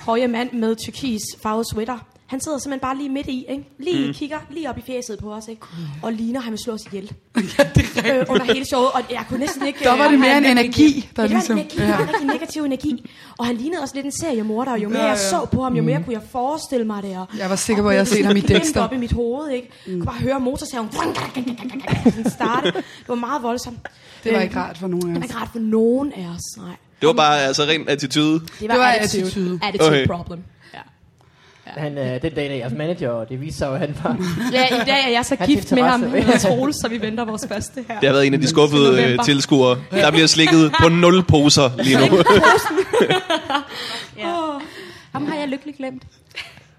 Speaker 4: Høje mand med turkis farvet sweater. Han sidder simpelthen bare lige midt i, ikke? Lige mm. kigger lige op i fjeset på os, ikke? Og ligner, han vil slå os ihjel. ja, det er øh, under hele showet, og jeg kunne næsten ikke...
Speaker 3: Der var
Speaker 4: øh,
Speaker 3: det mere
Speaker 4: han-
Speaker 3: en energi, der
Speaker 4: Ja, det var
Speaker 3: ligesom-
Speaker 4: en energi, der var en rigtig negativ energi. Og han lignede også lidt en seriemorder, og jo mere
Speaker 3: Ja,
Speaker 4: jeg
Speaker 3: ja. Mm.
Speaker 4: så på ham, jo mere kunne jeg forestille mig det. Og
Speaker 3: Jeg var sikker på, at jeg havde set ham i Dexter. Mm.
Speaker 4: op i mit hoved, ikke? Jeg kunne bare høre motorsaven sådan starte. Det var meget voldsomt.
Speaker 3: Det var
Speaker 4: Øh,
Speaker 3: ikke rart for nogen af
Speaker 4: Det var
Speaker 3: os.
Speaker 4: ikke rart for nogen af os, nej.
Speaker 5: Det var bare altså ren attitude.
Speaker 4: Det
Speaker 3: var attitude.
Speaker 4: Attitude
Speaker 5: Okay.
Speaker 4: problem. Ja.
Speaker 1: Han, øh, den dag er jeres manager, og det viser sig jo, at han var...
Speaker 4: ja, i dag er jeg så
Speaker 1: Han
Speaker 4: gift med ham.
Speaker 1: tilfredse.
Speaker 4: Han hedder Troels, så vi venter vores første her.
Speaker 5: Det har været en af de skuffede øh,
Speaker 4: november.
Speaker 5: tilskuere. Der bliver slikket på nul poser lige nu. Jeg
Speaker 7: Ja. Ham har jeg lykkelig glemt.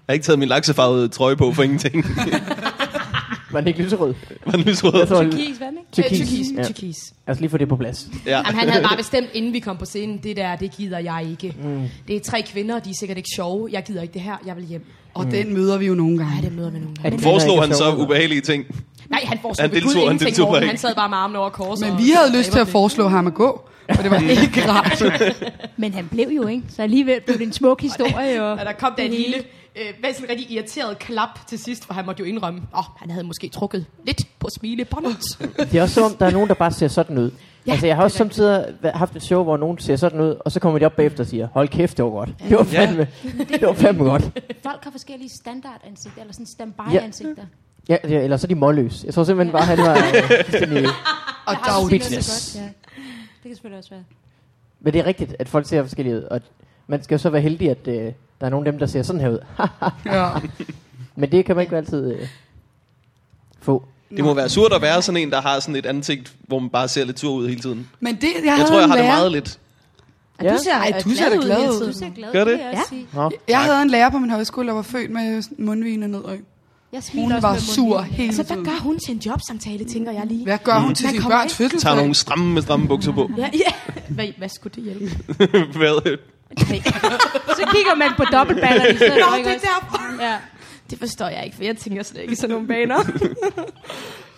Speaker 5: har ikke taget min laksefarvede trøje på for ingenting.
Speaker 1: Var den ikke lyserød?
Speaker 5: Var den lysrød?
Speaker 1: Jeg tror,
Speaker 7: Kies, hvad med?
Speaker 1: Tyrkis.
Speaker 4: Ja.
Speaker 1: Ja.
Speaker 4: Tyrkis.
Speaker 1: Lad os lige få det på plads.
Speaker 5: Ja.
Speaker 4: Jamen, han havde bare bestemt, inden vi kom på scenen, det der, det gider jeg ikke. Mm. Det er tre kvinder, de er sikkert ikke sjove. Jeg gider ikke det her, jeg vil hjem.
Speaker 3: Og
Speaker 5: Mm.
Speaker 3: den møder vi jo nogle
Speaker 4: Nej,
Speaker 3: gange.
Speaker 4: det møder man nogen.
Speaker 1: At kvinder ikke
Speaker 5: Foreslog
Speaker 1: er
Speaker 5: han så
Speaker 1: sjove, eller?
Speaker 5: ubehagelige ting?
Speaker 4: Nej, han får
Speaker 5: Han
Speaker 4: sådan
Speaker 5: deltog- han
Speaker 4: ingenting
Speaker 5: deltog
Speaker 4: Morten.
Speaker 5: ikke.
Speaker 4: Han sad bare med armene over korset.
Speaker 3: Men
Speaker 4: og-
Speaker 3: vi havde
Speaker 4: og
Speaker 3: lyst til at
Speaker 4: æbleblinde.
Speaker 3: foreslå ham at gå, og det var ikke rart.
Speaker 7: Men han blev jo ikke, så alligevel blev det en smuk historie. Og
Speaker 4: Og der kom der en lille, øh, hvad sådan en rigtig irriteret klap til sidst, for han måtte jo indrømme, åh, oh, han havde måske trukket lidt på smilebåndet.
Speaker 1: Det er også som om, der er nogen, der bare ser sådan ud. Ja, altså, jeg har også samtidig væ- haft et show, hvor nogen ser sådan ud, og så kommer de op bagefter og siger, hold kæft, det var godt. Det var fandme, det var fandme godt.
Speaker 7: Folk har forskellige standardansigter, eller sådan standby-ansigter.
Speaker 1: Ja, ja, eller så er de målløs. Jeg tror simpelthen bare, han var... øh, fuldstændig-
Speaker 3: Og
Speaker 7: Jeg har
Speaker 3: dog,
Speaker 7: også set noget så
Speaker 1: Speechless.
Speaker 7: godt, ja. Det kan selvfølgelig også være.
Speaker 5: Mm.
Speaker 1: Men det er rigtigt, at folk ser forskellige ud, og man skal jo så være heldig, at øh, der er nogle af dem, der ser sådan her ud.
Speaker 3: ja.
Speaker 1: Men det kan man ikke altid øh, få.
Speaker 5: Det må være surt at være sådan en, der har sådan et ansigt, hvor man bare ser lidt sur ud hele tiden.
Speaker 3: Men det, jeg,
Speaker 5: Jeg
Speaker 3: havde
Speaker 5: tror, jeg
Speaker 3: en
Speaker 5: har det
Speaker 3: lærer,
Speaker 5: meget lidt.
Speaker 1: Ja.
Speaker 3: Ej, du ser da glad ud.
Speaker 7: Du ser glad,
Speaker 5: Gør det?
Speaker 7: kan jeg også sige.
Speaker 1: Nå,
Speaker 3: Jeg havde en lærer på min højskole, der var født med mundvigene nedad.
Speaker 7: Jeg
Speaker 3: Hun
Speaker 7: smiler også
Speaker 3: var
Speaker 7: med
Speaker 3: sur
Speaker 7: mundvigene.
Speaker 3: hele
Speaker 4: Så Altså, hvad
Speaker 3: tiden.
Speaker 4: gør hun til en jobsamtale, tænker jeg lige.
Speaker 3: Hvad gør hun til
Speaker 4: Man
Speaker 3: sin
Speaker 4: kommer
Speaker 3: børns
Speaker 4: af.
Speaker 5: Mm. Tager
Speaker 3: fødselsdag?
Speaker 5: nogle stramme med stramme bukser på.
Speaker 4: Ja, ja. Hvad, hvad skulle det hjælpe?
Speaker 5: Hvad?
Speaker 7: Så kigger man på dobbeltballer i stedet.
Speaker 4: Nå,
Speaker 7: ikke
Speaker 4: det er
Speaker 7: også?
Speaker 4: derfor. Ja. Det forstår jeg ikke, for jeg tænker slet ikke i sådan nogle baner.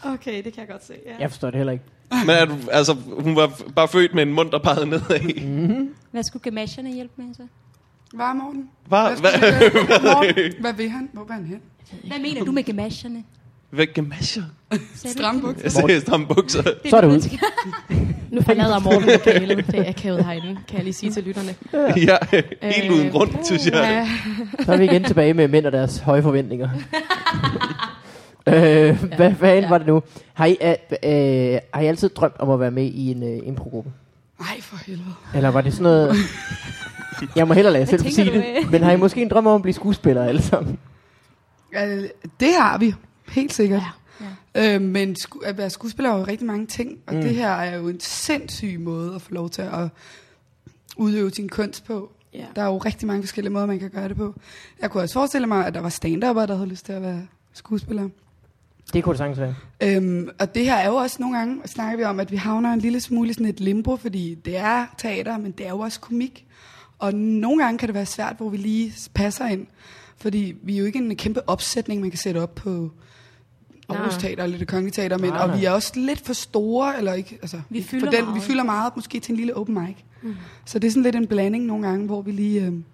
Speaker 4: okay, det kan jeg godt se. Ja.
Speaker 1: jeg forstår det heller ikke.
Speaker 5: Men er du, altså, hun var f- bare født med en mund, der pegede nedad.
Speaker 7: Hvad skulle gamagerne hjælpe med så?
Speaker 3: Hvad er Morten?
Speaker 5: Bare, hvad,
Speaker 3: Morten, hvad vil han? Hvor var han hen?
Speaker 7: Hvad mener du med gamagerne?
Speaker 5: hvad gamasjer?
Speaker 7: Sagde du
Speaker 3: Stramme
Speaker 7: ikke det?
Speaker 3: bukser.
Speaker 5: Jeg ser stramme bukser.
Speaker 1: Så er det ud.
Speaker 4: Nu forlader Morten lokalet. Det er akavet herinde, kan jeg lige sige til lytterne.
Speaker 5: ja, helt uden
Speaker 4: Øh,
Speaker 5: grund, synes jeg.
Speaker 4: Ja.
Speaker 1: Så er vi igen tilbage med mænd og deres høje forventninger. øh, hvad fanden
Speaker 4: ja.
Speaker 1: var det nu? Har I, øh, øh, har I altid drømt om at være med i en øh, improgruppe?
Speaker 3: Nej, for helvede.
Speaker 1: Eller var det sådan noget... Jeg må hellere lade jer selv
Speaker 7: tænker
Speaker 1: sige
Speaker 7: du,
Speaker 1: det. Men har I måske en drøm om at blive skuespillere alle sammen?
Speaker 3: Øh, det har vi, helt sikkert. Ja. Ja. Øh, men sku- at være skuespiller er jo rigtig mange ting, og mm. det her er jo en sindssyg måde at få lov til at udøve sin kunst på.
Speaker 4: Ja.
Speaker 3: Der er jo rigtig mange forskellige måder, man kan gøre det på. Jeg kunne også forestille mig, at der var stand der havde lyst til at være skuespiller.
Speaker 1: Det kunne det sagtens være.
Speaker 3: Øhm, og det her er jo også nogle gange, snakker vi om, at vi havner en lille smule i sådan et limbo, fordi det er teater, men det er jo også komik. Og nogle gange kan det være svært, hvor vi lige passer ind. Fordi vi er jo ikke en kæmpe opsætning, man kan sætte op på Aarhus
Speaker 4: Nej.
Speaker 3: Teater eller det Kongelige Teater, men,
Speaker 1: Nej, nej.
Speaker 3: og vi er også lidt for store, eller ikke, altså,
Speaker 7: Vi
Speaker 3: ikke
Speaker 7: fylder
Speaker 3: for den,
Speaker 7: meget,
Speaker 3: vi
Speaker 7: ikke?
Speaker 3: fylder meget, måske til en lille open mic. Mm. Så det er sådan lidt en blanding nogle gange, hvor vi lige øhm,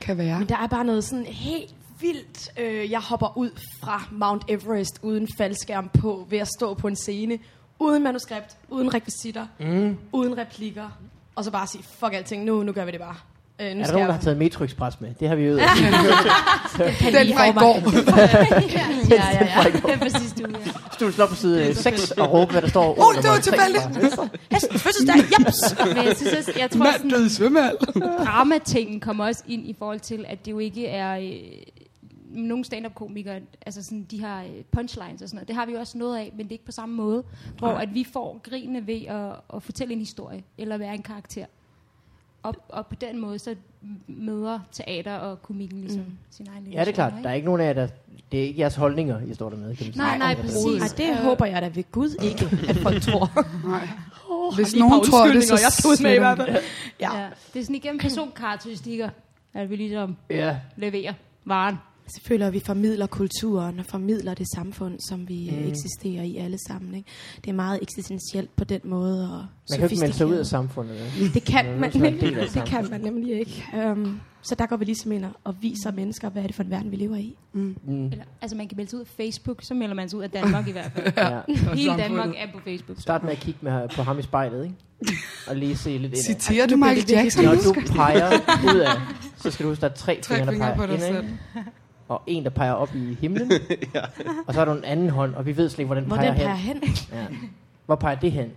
Speaker 3: kan være.
Speaker 4: Men der er bare noget sådan helt vildt. Øh, jeg hopper ud fra Mount Everest uden faldskærm på, ved at stå på en scene, uden manuskript, uden rekvisitter, mm. uden replikker, og så bare sige, fuck alting, nu, nu gør vi det bare. Øh, nu
Speaker 1: Er der
Speaker 4: skal
Speaker 1: nogen, der
Speaker 4: jeg-
Speaker 1: har taget metroexpress med? Det har vi jo.
Speaker 3: Den fra i går.
Speaker 4: ja, ja, ja. Det er præcis du, ja.
Speaker 1: Du slå på side 6 og råbe, hvad der står.
Speaker 3: Åh, det var tilfældigt!
Speaker 4: Hestens fødselsdag, jeps!
Speaker 7: Men jeg synes også, jeg tror
Speaker 3: Mand
Speaker 7: også, sådan,
Speaker 3: døde i svømmehal.
Speaker 7: dramatingen kommer også ind i forhold til, at det jo ikke er... Øh, nogle stand-up-komikere, altså sådan, de har øh, punchlines og sådan noget, det har vi jo også noget af, men det er ikke på samme måde, hvor at vi får grinene ved at, at fortælle en historie, eller være en karakter. Og, og på den måde, så møder teater og komikken ligesom mm. sin egen lille
Speaker 1: Ja, det er klart.
Speaker 7: genre,
Speaker 1: Der
Speaker 7: ikke?
Speaker 1: er ikke nogen af jer, der... Det er ikke jeres holdninger, I står der med, kan man sige.
Speaker 7: Nej, nej, præcis.
Speaker 4: Ej, det
Speaker 7: Øh,
Speaker 4: håber jeg da ved Gud ikke, at folk tror.
Speaker 3: Nej.
Speaker 4: Oh,
Speaker 3: Hvis nogen tror det, så
Speaker 4: jeg stod med i
Speaker 3: sletter
Speaker 4: hvert fald. Ja.
Speaker 7: Ja. Det er sådan igennem personkarakteristikker, at vi ligesom
Speaker 1: Ja.
Speaker 7: leverer varen.
Speaker 4: Så føler jeg, at vi formidler kulturen og formidler det samfund, som vi mm. eksisterer i alle sammen. Ikke? Det er meget eksistentielt på den måde. Og
Speaker 1: Man kan jo ikke melde sig ud af
Speaker 4: sofistikeret.
Speaker 1: samfundet. vel?
Speaker 4: Det kan
Speaker 1: Man
Speaker 4: man,
Speaker 1: er nødt til at være en del af
Speaker 4: nemlig, det kan
Speaker 1: samfundet.
Speaker 4: man nemlig ikke. Um, så der går vi ligesom ind og- og viser mennesker, hvad er det for en verden, vi lever i.
Speaker 7: Eller, altså man kan melde sig ud af Facebook, så melder man sig ud af Danmark i hvert fald.
Speaker 1: Ja.
Speaker 7: Hele Danmark er på Facebook.
Speaker 1: Start med at kigge med, på ham i spejlet, ikke? Og lige se lidt ind.
Speaker 3: Citerer du Michael Jackson
Speaker 1: Når
Speaker 3: nu?
Speaker 1: du peger udad, så skal du huske, der er tre,
Speaker 3: Tre
Speaker 1: fingre, der
Speaker 3: fingre
Speaker 1: peger
Speaker 3: på dig
Speaker 1: indad,
Speaker 3: selv.
Speaker 1: ikke? og en, der peger op i himlen. Og så er der en anden hånd, og vi ved slet ikke, hvor den
Speaker 4: Hvor
Speaker 1: peger
Speaker 4: den peger
Speaker 1: hen.
Speaker 4: hen,
Speaker 1: Ja. Hvor peger det hen?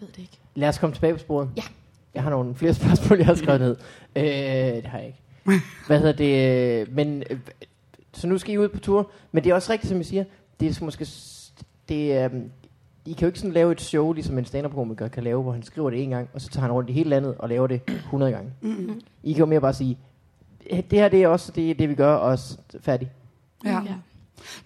Speaker 4: ved det ikke.
Speaker 1: Lad os komme tilbage på sporet.
Speaker 4: Ja.
Speaker 1: Jeg har nogle flere spørgsmål, jeg har skrevet ned. Øh, det har jeg ikke. Hvad hedder det? øh, Men, øh, så nu skal I ud på tur. Men det er også rigtigt, som I siger. Det er måske... s- Det er, øhm, I kan jo ikke sådan lave et show, ligesom en stand-up-komiker kan lave, hvor han skriver det en gang, og så tager han rundt i hele landet og laver det 100 gange. Mm-hmm. I kan jo mere bare sige, "Eh, det her det er også det, det vi gør, og s- færdig.
Speaker 3: Ja.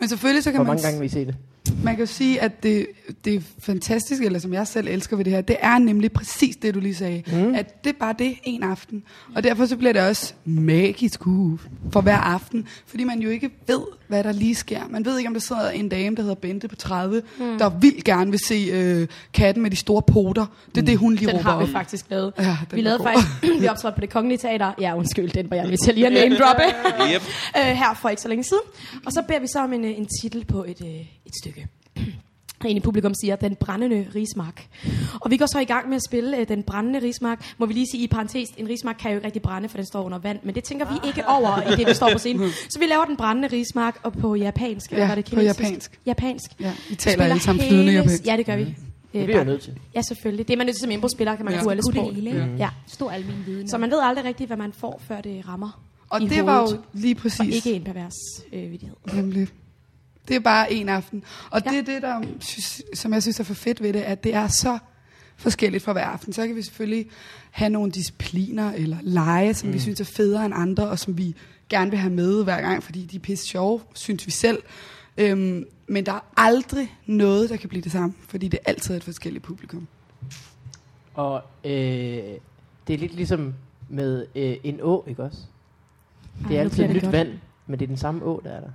Speaker 3: Men selvfølgelig så
Speaker 1: Hvor
Speaker 3: kan man,
Speaker 1: mange gange vil I se det?
Speaker 3: man kan jo sige, at det, det fantastiske, eller som jeg selv elsker ved det her, det er nemlig præcis det, du lige sagde. Mm. At det er bare det en aften. Og derfor så bliver det også magisk uh, for hver aften. Fordi man jo ikke ved, hvad der lige sker. Man ved ikke, om der sidder en dame, der hedder Bente på 30, mm. der vildt gerne vil se øh, katten med de store poter. Det er det, hun lige
Speaker 4: Den
Speaker 3: råber
Speaker 4: har vi
Speaker 3: op.
Speaker 4: faktisk lavet.
Speaker 3: Ja, den
Speaker 4: vi
Speaker 3: var
Speaker 4: lavede
Speaker 3: god.
Speaker 4: faktisk, vi optrådte på det kongelige teater. Ja, undskyld, den var jeg med til lige at name droppe.
Speaker 5: Yep.
Speaker 4: øh, her for ikke så længe siden. Og så beder vi så om en, øh, en titel på et, øh, et stykke. En i publikum siger, den brændende rismark. Og vi går så i gang med at spille øh, den brændende rismark. Må vi lige sige i parentes, en rismark kan jo ikke rigtig brænde, for den står under vand. Men det tænker vi ikke over i det, vi står på scenen. Så vi laver den brændende rismark og på japansk. eller
Speaker 3: Ja,
Speaker 4: var det
Speaker 3: på
Speaker 4: kinesisk?
Speaker 3: japansk.
Speaker 4: Japansk.
Speaker 3: Ja, vi
Speaker 4: Vi
Speaker 3: taler
Speaker 4: spiller
Speaker 3: alle sammen flydende
Speaker 4: hele-
Speaker 3: japansk. Mm.
Speaker 4: Ja, det gør vi. Øh,
Speaker 1: Det bliver jeg nødt til.
Speaker 4: Ja, selvfølgelig. Det er man nødt til som impro-spiller, kan man
Speaker 3: Ja.
Speaker 4: ja. kunne alle
Speaker 7: Gud, det
Speaker 4: sprog.
Speaker 7: hele, ikke?
Speaker 4: Ja.
Speaker 7: Stor almen viden.
Speaker 4: Så man ved aldrig rigtigt, hvad man får, før det rammer
Speaker 3: Og
Speaker 4: i
Speaker 3: det var jo
Speaker 4: hovedet.
Speaker 3: lige
Speaker 4: Og
Speaker 3: præcis...
Speaker 4: ikke en pervers øh, vidighed.
Speaker 3: Nemlig. Det er bare en aften. Og
Speaker 4: Ja.
Speaker 3: ja. det er det, der, synes, som jeg synes er for fedt ved det, at det er så forskelligt fra hver aften. Så kan vi selvfølgelig have nogle discipliner eller lege, som mm. vi synes er federe end andre, og som vi gerne vil have med hver gang, fordi de er pisse sjove, synes vi selv. Øhm, men der er aldrig noget, der kan blive det samme, fordi det altid er et forskelligt publikum.
Speaker 1: Og øh, det er lidt ligesom med øh, en å, ikke også? Det er
Speaker 4: nu
Speaker 1: altid
Speaker 4: bliver det
Speaker 1: nyt
Speaker 4: godt.
Speaker 1: vand, men det er den samme å, der er der.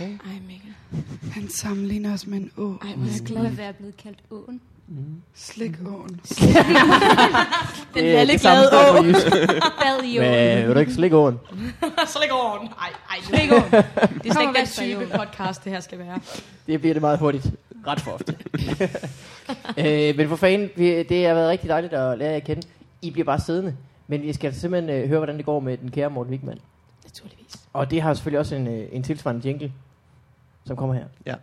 Speaker 4: Ej, Mikkel.
Speaker 5: Mm.
Speaker 3: Han sammenligner os med en å.
Speaker 4: Ej, hvor er Mm. jeg
Speaker 7: Det
Speaker 4: glad.
Speaker 7: kunne være blevet kaldt åen.
Speaker 3: Slikåen.
Speaker 1: Den
Speaker 4: er lidt glad å.
Speaker 7: Bad i åen.
Speaker 1: Men øh, vil du ikke slikke åen?
Speaker 4: Så lægger åren. Ej, ej,
Speaker 7: Det er ikke åen.
Speaker 4: Det er slet
Speaker 7: Kommer
Speaker 4: ikke den
Speaker 7: væk fra
Speaker 4: type
Speaker 7: jorden.
Speaker 4: podcast, det her skal være.
Speaker 1: Det bliver det meget hurtigt.
Speaker 5: Ret for ofte.
Speaker 1: Øh, men for fanden, vi, det har været rigtig dejligt at lære jer at kende. I bliver bare siddende. Men vi skal simpelthen øh, høre, hvordan det går med den kære Morten Wigman.
Speaker 4: Naturligvis.
Speaker 1: Og det har selvfølgelig også en, øh, en tilsvarende jingle, som kommer her.
Speaker 5: Ja.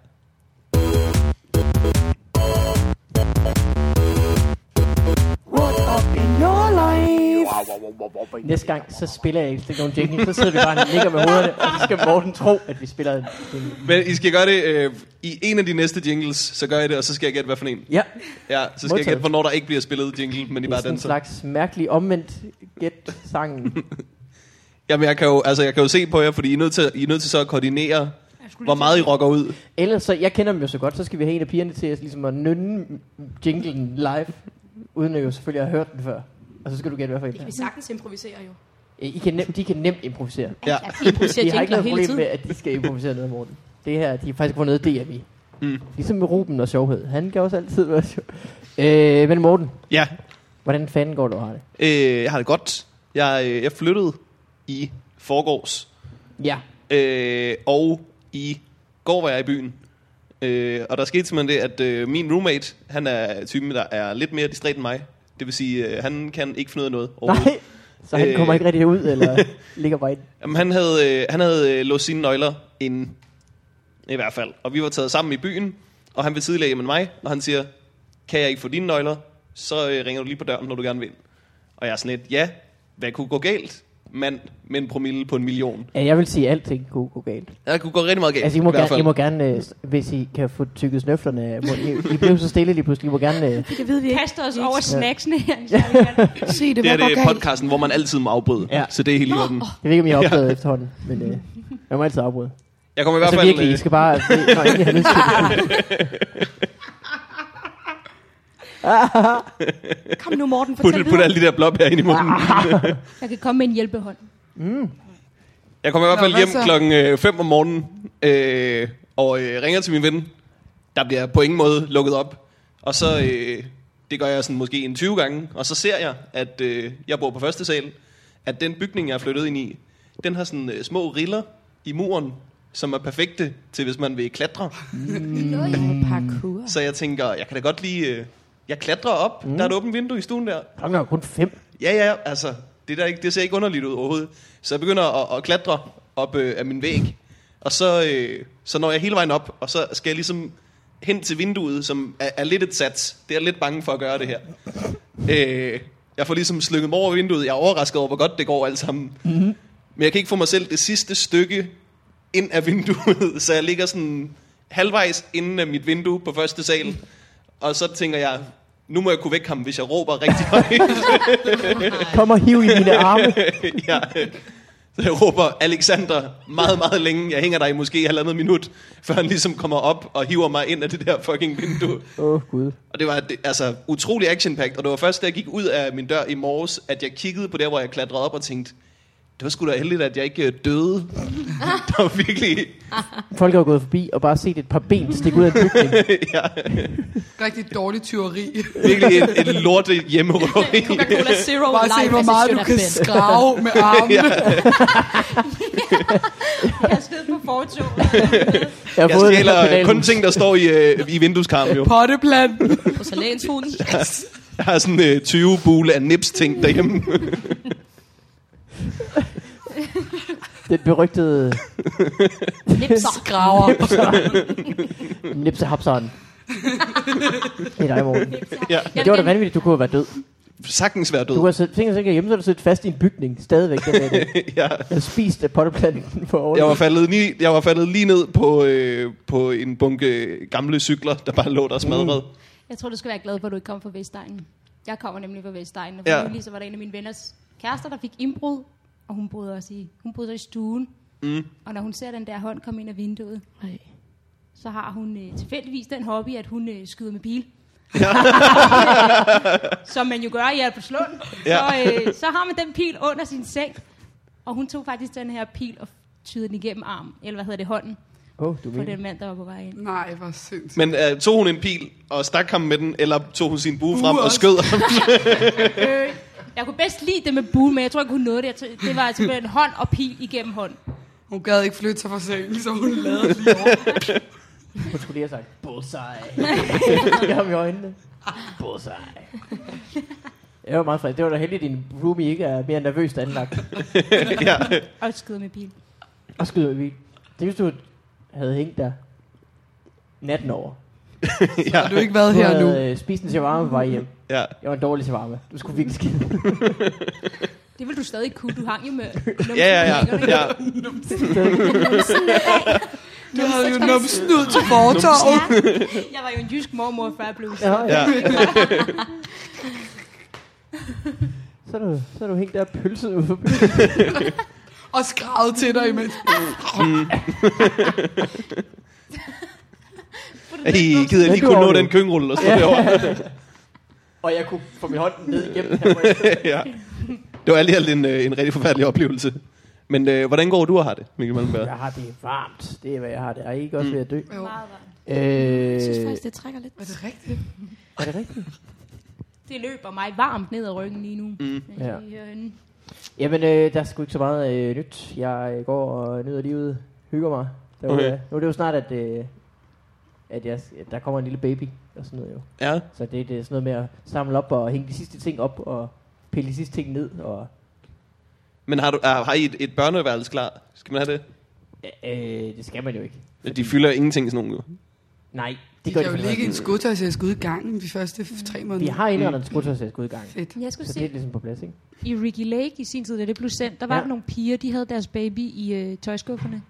Speaker 6: What up in your life?
Speaker 1: Næste gang, så spiller jeg ikke slet nogen jingle. Så sidder vi bare og ligger med hovederne, og så skal Morten tro, at vi spiller en jingle.
Speaker 5: Men I skal gøre det øh, i en af de næste jingles, så gør I det, og så skal jeg gætte, hvad for en.
Speaker 1: Ja,
Speaker 5: Ja, så skal jeg
Speaker 1: Modtaget.
Speaker 5: gætte, hvornår der ikke bliver spillet jingle, men I
Speaker 1: det er
Speaker 5: bare
Speaker 1: sådan en
Speaker 5: danser.
Speaker 1: slags mærkelig omvendt gæt-sangen.
Speaker 5: Jamen, jeg kan, jo, altså, jeg kan jo se på jer, fordi I er nødt til, I er nødt til så at koordinere, hvor meget I rocker ud.
Speaker 1: Ellers, så, jeg kender dem jo så godt, så skal vi have en af pigerne til at, ligesom at nynne jinglen live, uden at jo selvfølgelig har hørt den før. Og så skal du gætte, hvad for en det
Speaker 4: Vi sagtens improviserer jo.
Speaker 1: er. I kan nemt, de kan nemt improvisere.
Speaker 5: Ja.
Speaker 4: Vi improviserer
Speaker 1: De har ikke
Speaker 4: jingler
Speaker 1: noget problem
Speaker 4: hele tiden.
Speaker 1: med, at de skal improvisere noget om morgenen. Det her, de er faktisk på noget DMI. Mm. Ligesom med Ruben og sjovhed. Han kan også altid være sjov. Øh, men Morten,
Speaker 5: Ja,
Speaker 1: hvordan fanden går du og har det?
Speaker 5: øh, jeg har det godt. Jeg, øh, jeg flyttede i forgårs,
Speaker 1: Ja.
Speaker 5: øh, og i går var jeg i byen. Øh, og der skete simpelthen det, at øh, min roommate, han er typen, der er lidt mere distræt end mig. Det vil sige, øh, han kan ikke finde ud af noget overhovedet.
Speaker 1: Nej, så han
Speaker 5: Øh.
Speaker 1: kommer ikke rigtig ud, eller ligger bare ind.
Speaker 5: Jamen, han havde, øh, han havde øh, låst sine nøgler inden, i hvert fald. Og vi var taget sammen i byen, og han vil tidligere hjem end mig, og han siger, kan jeg ikke få dine nøgler, så øh, ringer du lige på døren, når du gerne vil. ind." Og jeg er sådan lidt, ja, hvad kunne gå galt? Mand med en promille på en million.
Speaker 1: Ja, jeg vil sige, at alting kunne gå galt.
Speaker 5: Der kunne gå rigtig meget galt,
Speaker 1: Altså, I må,
Speaker 5: i hvert
Speaker 1: gerne, I
Speaker 5: fald.
Speaker 1: må gerne, øh, s- hvis I kan få tykket snøflerne, af munden. I, I blev så stille lige pludselig. I må gerne... Øh,
Speaker 2: Det ved vi ikke.
Speaker 7: Kaster os over snacksene her.
Speaker 3: Se, det
Speaker 5: Det
Speaker 3: var
Speaker 5: er det
Speaker 3: godt galt.
Speaker 5: podcasten, hvor man altid må afbryde.
Speaker 1: Ja.
Speaker 5: Ja. Så det er helt i orden.
Speaker 1: jeg ved ikke, om I har opdaget ja. efterhånden, men øh, jeg må altid afbryde.
Speaker 5: Jeg kommer i hvert
Speaker 1: Altså
Speaker 5: fald...
Speaker 1: virkelig, I
Speaker 5: øh,
Speaker 1: skal bare... Når ingen har lyst til det.
Speaker 2: Kom nu, Morten, fortæl
Speaker 5: putte, putte alle
Speaker 2: videre.
Speaker 5: de der blop her ind i munden.
Speaker 7: Jeg kan komme med en hjælpehånd.
Speaker 5: Jeg kommer i hvert
Speaker 3: Nå,
Speaker 5: fald
Speaker 3: hvad
Speaker 5: hjem
Speaker 3: så?
Speaker 5: klokken 5 om morgenen øh, og øh, ringer til min ven. Der bliver på ingen måde lukket op. Og så, øh, det gør jeg sådan måske en 20 gange, og så ser jeg, at øh, jeg bor på første sal, at den bygning, jeg er flyttet ind i, den har sådan øh, små riller i muren, som er perfekte til, hvis man vil klatre.
Speaker 2: Parkour.
Speaker 5: Så jeg tænker, jeg kan da godt lige... Øh, jeg klatrer op, mm. der er et åbent vindue i stuen der.
Speaker 1: Klokken er kun fem.
Speaker 5: Ja, ja, altså, det, der ikke, det ser ikke underligt ud overhovedet. Så jeg begynder at, at klatre op øh, af min væg, og så, øh, så når jeg hele vejen op, og så skal jeg ligesom hen til vinduet, som er, er lidt et sats. Det er jeg lidt bange for at gøre det her. Øh, jeg får ligesom slykket mig over vinduet. Jeg er overrasket over, hvor godt det går alt sammen. Mm-hmm. Men jeg kan ikke få mig selv det sidste stykke ind af vinduet, så jeg ligger sådan halvvejs inden af mit vindue på første sal. Og så tænker jeg, nu må jeg kunne vække ham, hvis jeg råber rigtig højt.
Speaker 1: Kom og hiv i mine arme.
Speaker 5: ja. øh, Så jeg råber, Alexander, meget, meget længe. Jeg hænger dig i måske halvandet minut, før han ligesom kommer op og hiver mig ind af det der fucking vindue.
Speaker 1: Åh, oh, Gud.
Speaker 5: Og det var det, altså utrolig action -packed. Og det var først, da jeg gik ud af min dør i morges, at jeg kiggede på der, hvor jeg klatrede op og tænkte, det var sgu da heldigt, at jeg ikke øh, døde. der var virkelig...
Speaker 1: Folk er jo gået forbi og bare set et par ben stikke ud af en bygning.
Speaker 5: ja,
Speaker 3: Rigtig dårlig tyveri.
Speaker 5: virkelig et, et lorte hjemmerøveri.
Speaker 4: Coca-Cola Zero
Speaker 3: Bare se,
Speaker 4: Life
Speaker 3: hvor meget du kan
Speaker 4: Assistant
Speaker 3: skrave med armene.
Speaker 4: Jeg sidder på fortoget.
Speaker 1: Jeg har
Speaker 5: Jeg
Speaker 1: fået den her
Speaker 5: stjæler øh,
Speaker 1: pedal.
Speaker 5: kun ting, der står i, øh, i vindueskarmen jo.
Speaker 3: Potteplanten.
Speaker 4: På salatshuden.
Speaker 5: Jeg har sådan øh, 20 bule af nips-ting derhjemme.
Speaker 1: Den berygtede
Speaker 4: Nipser. Graver.
Speaker 1: Nipse Hapsaren. øh, Det er dig, Morten.
Speaker 5: ja.
Speaker 1: Men det var da vanvittigt, du kunne have været død.
Speaker 5: Sagtens være død.
Speaker 1: Du kunne have siddet, tænkt dig hjemme, så er du siddet fast i en bygning stadigvæk. Den der, dag.
Speaker 5: ja.
Speaker 1: Jeg har spist af potteplanten for året.
Speaker 5: Jeg var faldet, ni, jeg var faldet lige ned på, øh, på en bunke gamle cykler, der bare lå der smadret. Mm.
Speaker 7: Jeg tror, du skal være glad for, at du ikke kom fra Vestegnen. Jeg kommer nemlig fra Vestegnen, og
Speaker 5: Ja.
Speaker 7: ja. lige så var der en af mine venners kærester, der fik indbrud, og hun boede også i, hun boede så i stuen. Mm. Og når hun ser den der hånd komme ind af vinduet,
Speaker 1: Nej.
Speaker 7: så har hun øh, tilfældigvis den hobby, at hun øh, skyder med bil. Som man jo gør i Albertslund.
Speaker 5: Ja.
Speaker 7: Ja. Så, øh, så har man den pil under sin seng, og hun tog faktisk den her pil og tydede den igennem armen, eller hvad hedder det, hånden,
Speaker 1: Åh, oh, du
Speaker 5: Mm.
Speaker 7: på
Speaker 1: mener.
Speaker 7: den mand, der var på vej ind.
Speaker 3: Nej, hvor sindssygt.
Speaker 5: Men øh, tog hun en pil og stak ham med den, eller tog hun sin bue
Speaker 3: Bue
Speaker 5: frem og
Speaker 3: også.
Speaker 5: skød ham?
Speaker 7: Øh, jeg kunne bedst lide det med buen, men jeg tror ikke, hun nåede det. Jeg tror, det var altså en hånd og pil igennem hånd.
Speaker 3: Hun gad ikke flytte sig fra sengen, så hun lavede det lige over.
Speaker 1: Hun skulle lige have sagt, bullseye. Jeg har i øjnene. Bullseye. Jeg var meget frisk. Det var da heldigt, at din roomie ikke er mere nervøst anlagt.
Speaker 5: ja.
Speaker 7: Og skyder med bil.
Speaker 1: Og skyder i bil. Det hvis du havde hængt der natten over.
Speaker 5: ja.
Speaker 3: Har du ikke været
Speaker 1: Du
Speaker 3: her nu?
Speaker 1: havde øh, spist en shawarma på vej hjem.
Speaker 5: ja.
Speaker 1: Jeg var en dårlig shawarma. Du skulle virkelig skide.
Speaker 7: Det vil du stadig kunne. Du hang jo med
Speaker 5: Ja, ja, ja. ja.
Speaker 3: Du havde jo numsen ud til fortorvet.
Speaker 7: Jeg var jo en jysk mormor, før jeg blev
Speaker 1: Ja, ja.
Speaker 5: ja.
Speaker 1: Så er du, så er du hængt der pølset ude på byen.
Speaker 3: og skravet til dig imens.
Speaker 5: I gider jeg lige kunne nå den køngrulle, der står derovre.
Speaker 1: Og jeg kunne få min hånd ned igennem her.
Speaker 5: ja. Det var alt i alt en, øh, en rigtig forfærdelig oplevelse. Men øh, hvordan går du og har det, Mikkel Malmberg?
Speaker 1: Jeg har det varmt. Det er, hvad jeg har det. Er I ikke også ved at dø?
Speaker 3: Jo.
Speaker 7: meget varm.
Speaker 1: Øh,
Speaker 2: Jeg synes faktisk, det trækker lidt.
Speaker 3: Er det rigtigt?
Speaker 1: er det rigtigt?
Speaker 7: Det løber mig varmt ned ad ryggen lige nu. Mm.
Speaker 1: Ja. Jamen, øh, der er sgu ikke så meget øh, nyt. Jeg øh, går og nyder livet, hygger mig. Der,
Speaker 5: Okay.
Speaker 1: okay. øh, nu er det jo snart, at, øh, at jeg, at der kommer en lille baby og sådan noget jo.
Speaker 5: Ja.
Speaker 1: Så det, det er sådan noget med at samle op og hænge de sidste ting op og pille de sidste ting ned. Og,
Speaker 5: Men har, du, er, har I et, et børneværelse klar? Skal man have det?
Speaker 1: øh, det skal man jo ikke.
Speaker 5: De fylder ingenting sådan nogen. jo.
Speaker 1: Nej, det
Speaker 3: De kan
Speaker 1: gør de
Speaker 3: jo
Speaker 1: faktisk
Speaker 3: ligge i en
Speaker 1: ikke.
Speaker 3: skudtøjsæske ude i gangen de første f- tre måneder.
Speaker 1: Vi har indrettet en skudtøjsæskudgang.
Speaker 3: Fedt.
Speaker 7: Jeg skulle
Speaker 1: Så det er
Speaker 7: se,
Speaker 1: ligesom på plads, ikke?
Speaker 7: i Ricky Lake i sin tid, da det blev sendt, der var
Speaker 1: Ja.
Speaker 7: ja. der nogle piger, de havde deres baby i øh, tøjskufferne.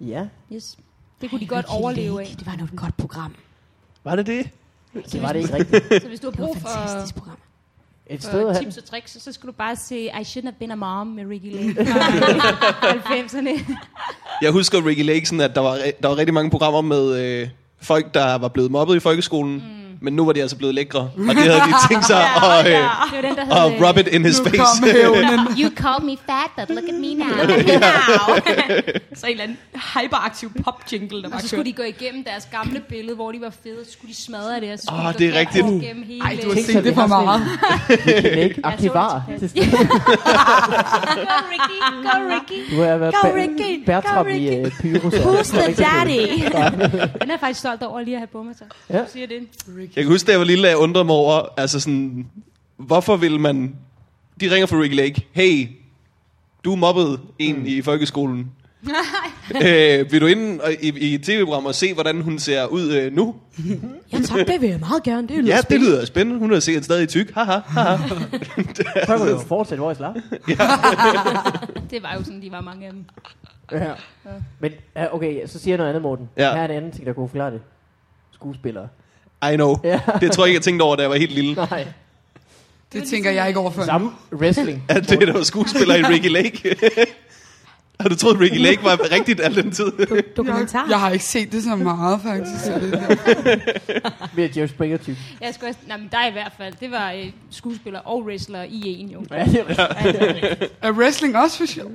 Speaker 1: Ja,
Speaker 7: Yes. Det kunne de godt overleve af.
Speaker 2: Det var noget godt program.
Speaker 5: Var det det?
Speaker 1: det var det ikke rigtigt.
Speaker 7: Så hvis du
Speaker 2: Det
Speaker 7: har
Speaker 2: var
Speaker 7: brug
Speaker 2: et
Speaker 7: for,
Speaker 2: fantastisk program.
Speaker 1: Et sted at
Speaker 7: for
Speaker 1: have den.
Speaker 7: tips og tricks, så skal du bare se I shouldn't have been a mom med Ricky Lake fra 90'erne.
Speaker 5: Jeg husker Ricky Lake sådan, at der var, re- der var rigtig mange programmer med øh, folk, der var blevet mobbet i folkeskolen. Mm. Men nu var de altså blevet lækre. Og det havde de tænkt sig at, øh,
Speaker 7: Det var den, der
Speaker 5: at
Speaker 7: hed... øh,
Speaker 5: rub it in his
Speaker 3: Nu
Speaker 5: face.
Speaker 3: kom hævnen.
Speaker 7: You called me fat, but look at me now.
Speaker 4: Så en eller anden hyperaktiv pop-jingle, der
Speaker 7: Og
Speaker 4: var
Speaker 7: så skulle de gå igennem deres gamle billede, hvor de var fede, så skulle de smadre det, og så skulle
Speaker 5: Åh,
Speaker 7: de gå
Speaker 5: det er
Speaker 7: fat
Speaker 5: rigtigt.
Speaker 7: over gennem hele...
Speaker 3: Ej, du har
Speaker 1: Tænk sig,
Speaker 3: set det
Speaker 1: vi
Speaker 3: for
Speaker 1: har sådan
Speaker 3: meget.
Speaker 1: kan ikke
Speaker 7: Jeg så det
Speaker 1: arkivare
Speaker 7: tilpas.
Speaker 1: Ah, til stedet.
Speaker 7: Go, Ricky, go, Ricky.
Speaker 1: Du har været
Speaker 7: Go,
Speaker 1: Ber-
Speaker 7: Ricky! Go,
Speaker 1: Bertram i
Speaker 7: Ricky!
Speaker 1: øh, Pyrus.
Speaker 7: Who's the daddy? Den er jeg faktisk stolt over lige at have på mig så.
Speaker 1: Ja.
Speaker 7: Ja. Du siger det.
Speaker 5: Jeg kan huske, da jeg var lille, at jeg undrede mig over, altså sådan, hvorfor vil man... De ringer fra Ricky Lake. Hey, du mobbede en mm. i folkeskolen. øh, vil du ind og- i, i et tv-program og se, hvordan hun ser ud øh, nu?
Speaker 2: Ja tak, det vil jeg meget gerne. Det lyder
Speaker 5: Ja, det
Speaker 2: spændende.
Speaker 5: lyder spændende. Hun er sikkert stadig tyk. Haha, haha.
Speaker 1: Prøv at fortsætte, hvor jeg slap.
Speaker 7: Det var jo sådan, de var mange af dem.
Speaker 1: Ja. Men ja, okay, så siger jeg noget andet, Morten.
Speaker 5: Ja.
Speaker 1: Ja. Her er en anden ting, der kunne forklare det. Skuespillere.
Speaker 5: I know.
Speaker 1: Ja.
Speaker 5: Det tror jeg ikke, jeg tænkte over, da jeg var helt lille.
Speaker 1: Nej.
Speaker 3: Det tænker jeg ikke over før.
Speaker 1: Samme wrestling.
Speaker 5: At det der var skuespiller i Ricky Lake. Har du troet, Ricky Lake var rigtigt al den tid?
Speaker 2: Dokumentar.
Speaker 3: Jeg har ikke set det så meget, faktisk. så det-
Speaker 1: Med Jerry Springer-type.
Speaker 7: Jeg skulle også... Nej, men dig i hvert fald. Det var øh, skuespiller og wrestler i en, jo.
Speaker 1: Ja, det er rigtigt.
Speaker 3: Er wrestling også for sjov?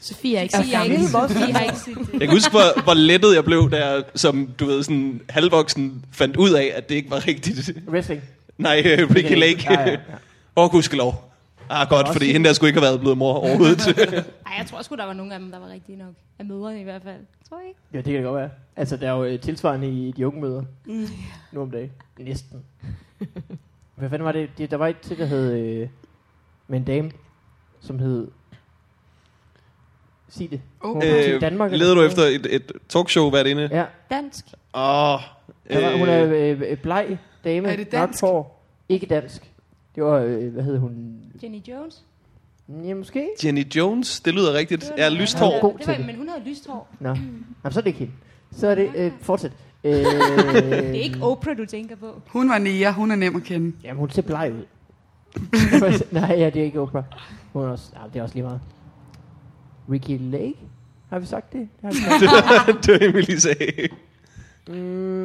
Speaker 7: Sofie har ikke set det. Sofie har ikke set det.
Speaker 5: Jeg kan huske, hvor, hvor lettet jeg blev, da jeg, som du ved, sådan halvvoksen fandt ud af, at det ikke var rigtigt.
Speaker 1: Wrestling.
Speaker 5: Nej, øh, Ricky Lake.
Speaker 1: Ja, ja, ja.
Speaker 5: Og gudskelov. Ah, godt, fordi hende der skulle ikke have været blevet mor overhovedet.
Speaker 7: Ej, jeg tror sgu, der var nogle af dem, der var rigtige nok. Af mødrene i hvert fald. Tror jeg ikke?
Speaker 1: ja, det kan det godt være. Altså, der er jo øh, tilsvarende i de unge møder.
Speaker 3: Mm.
Speaker 1: Nu om dagen. Næsten. Hvad fanden var det? det der var et til, der hed... Øh, med en dame, som hed... Sig det.
Speaker 3: Oh.
Speaker 1: Hun var til
Speaker 5: øh,
Speaker 1: Danmark, eller
Speaker 5: leder du
Speaker 1: sådan
Speaker 5: efter et, et talkshow hvert inde?
Speaker 1: Ja.
Speaker 7: Dansk.
Speaker 5: Åh, oh,
Speaker 1: Der var, hun er
Speaker 5: øh,
Speaker 1: øh, øh, bleg dame.
Speaker 3: Er det
Speaker 1: mørkt
Speaker 3: dansk?
Speaker 1: Hår, ikke dansk. Det var, øh, hvad hed hun?
Speaker 7: Jenny Jones.
Speaker 1: Ja, måske?
Speaker 5: øh, Jenny Jones, det lyder rigtigt. Ja, lyst
Speaker 1: Ja,
Speaker 5: hår.
Speaker 1: god
Speaker 7: Det var,
Speaker 1: til det.
Speaker 7: men hun havde lyst hår.
Speaker 1: Nå, Jamen, så er det ikke hende. Så er det, øh, fortsæt. Øh,
Speaker 7: Det er ikke Oprah, du tænker på.
Speaker 3: Hun var nære, hun er nem at kende.
Speaker 1: Jamen, hun ser bleg ud. Nej, ja, det er ikke Oprah. Hun er også, ah, det er også lige meget. Ricky Lake? Har vi sagt det? det har vi sagt.
Speaker 5: det var Emily sagde.
Speaker 1: mm,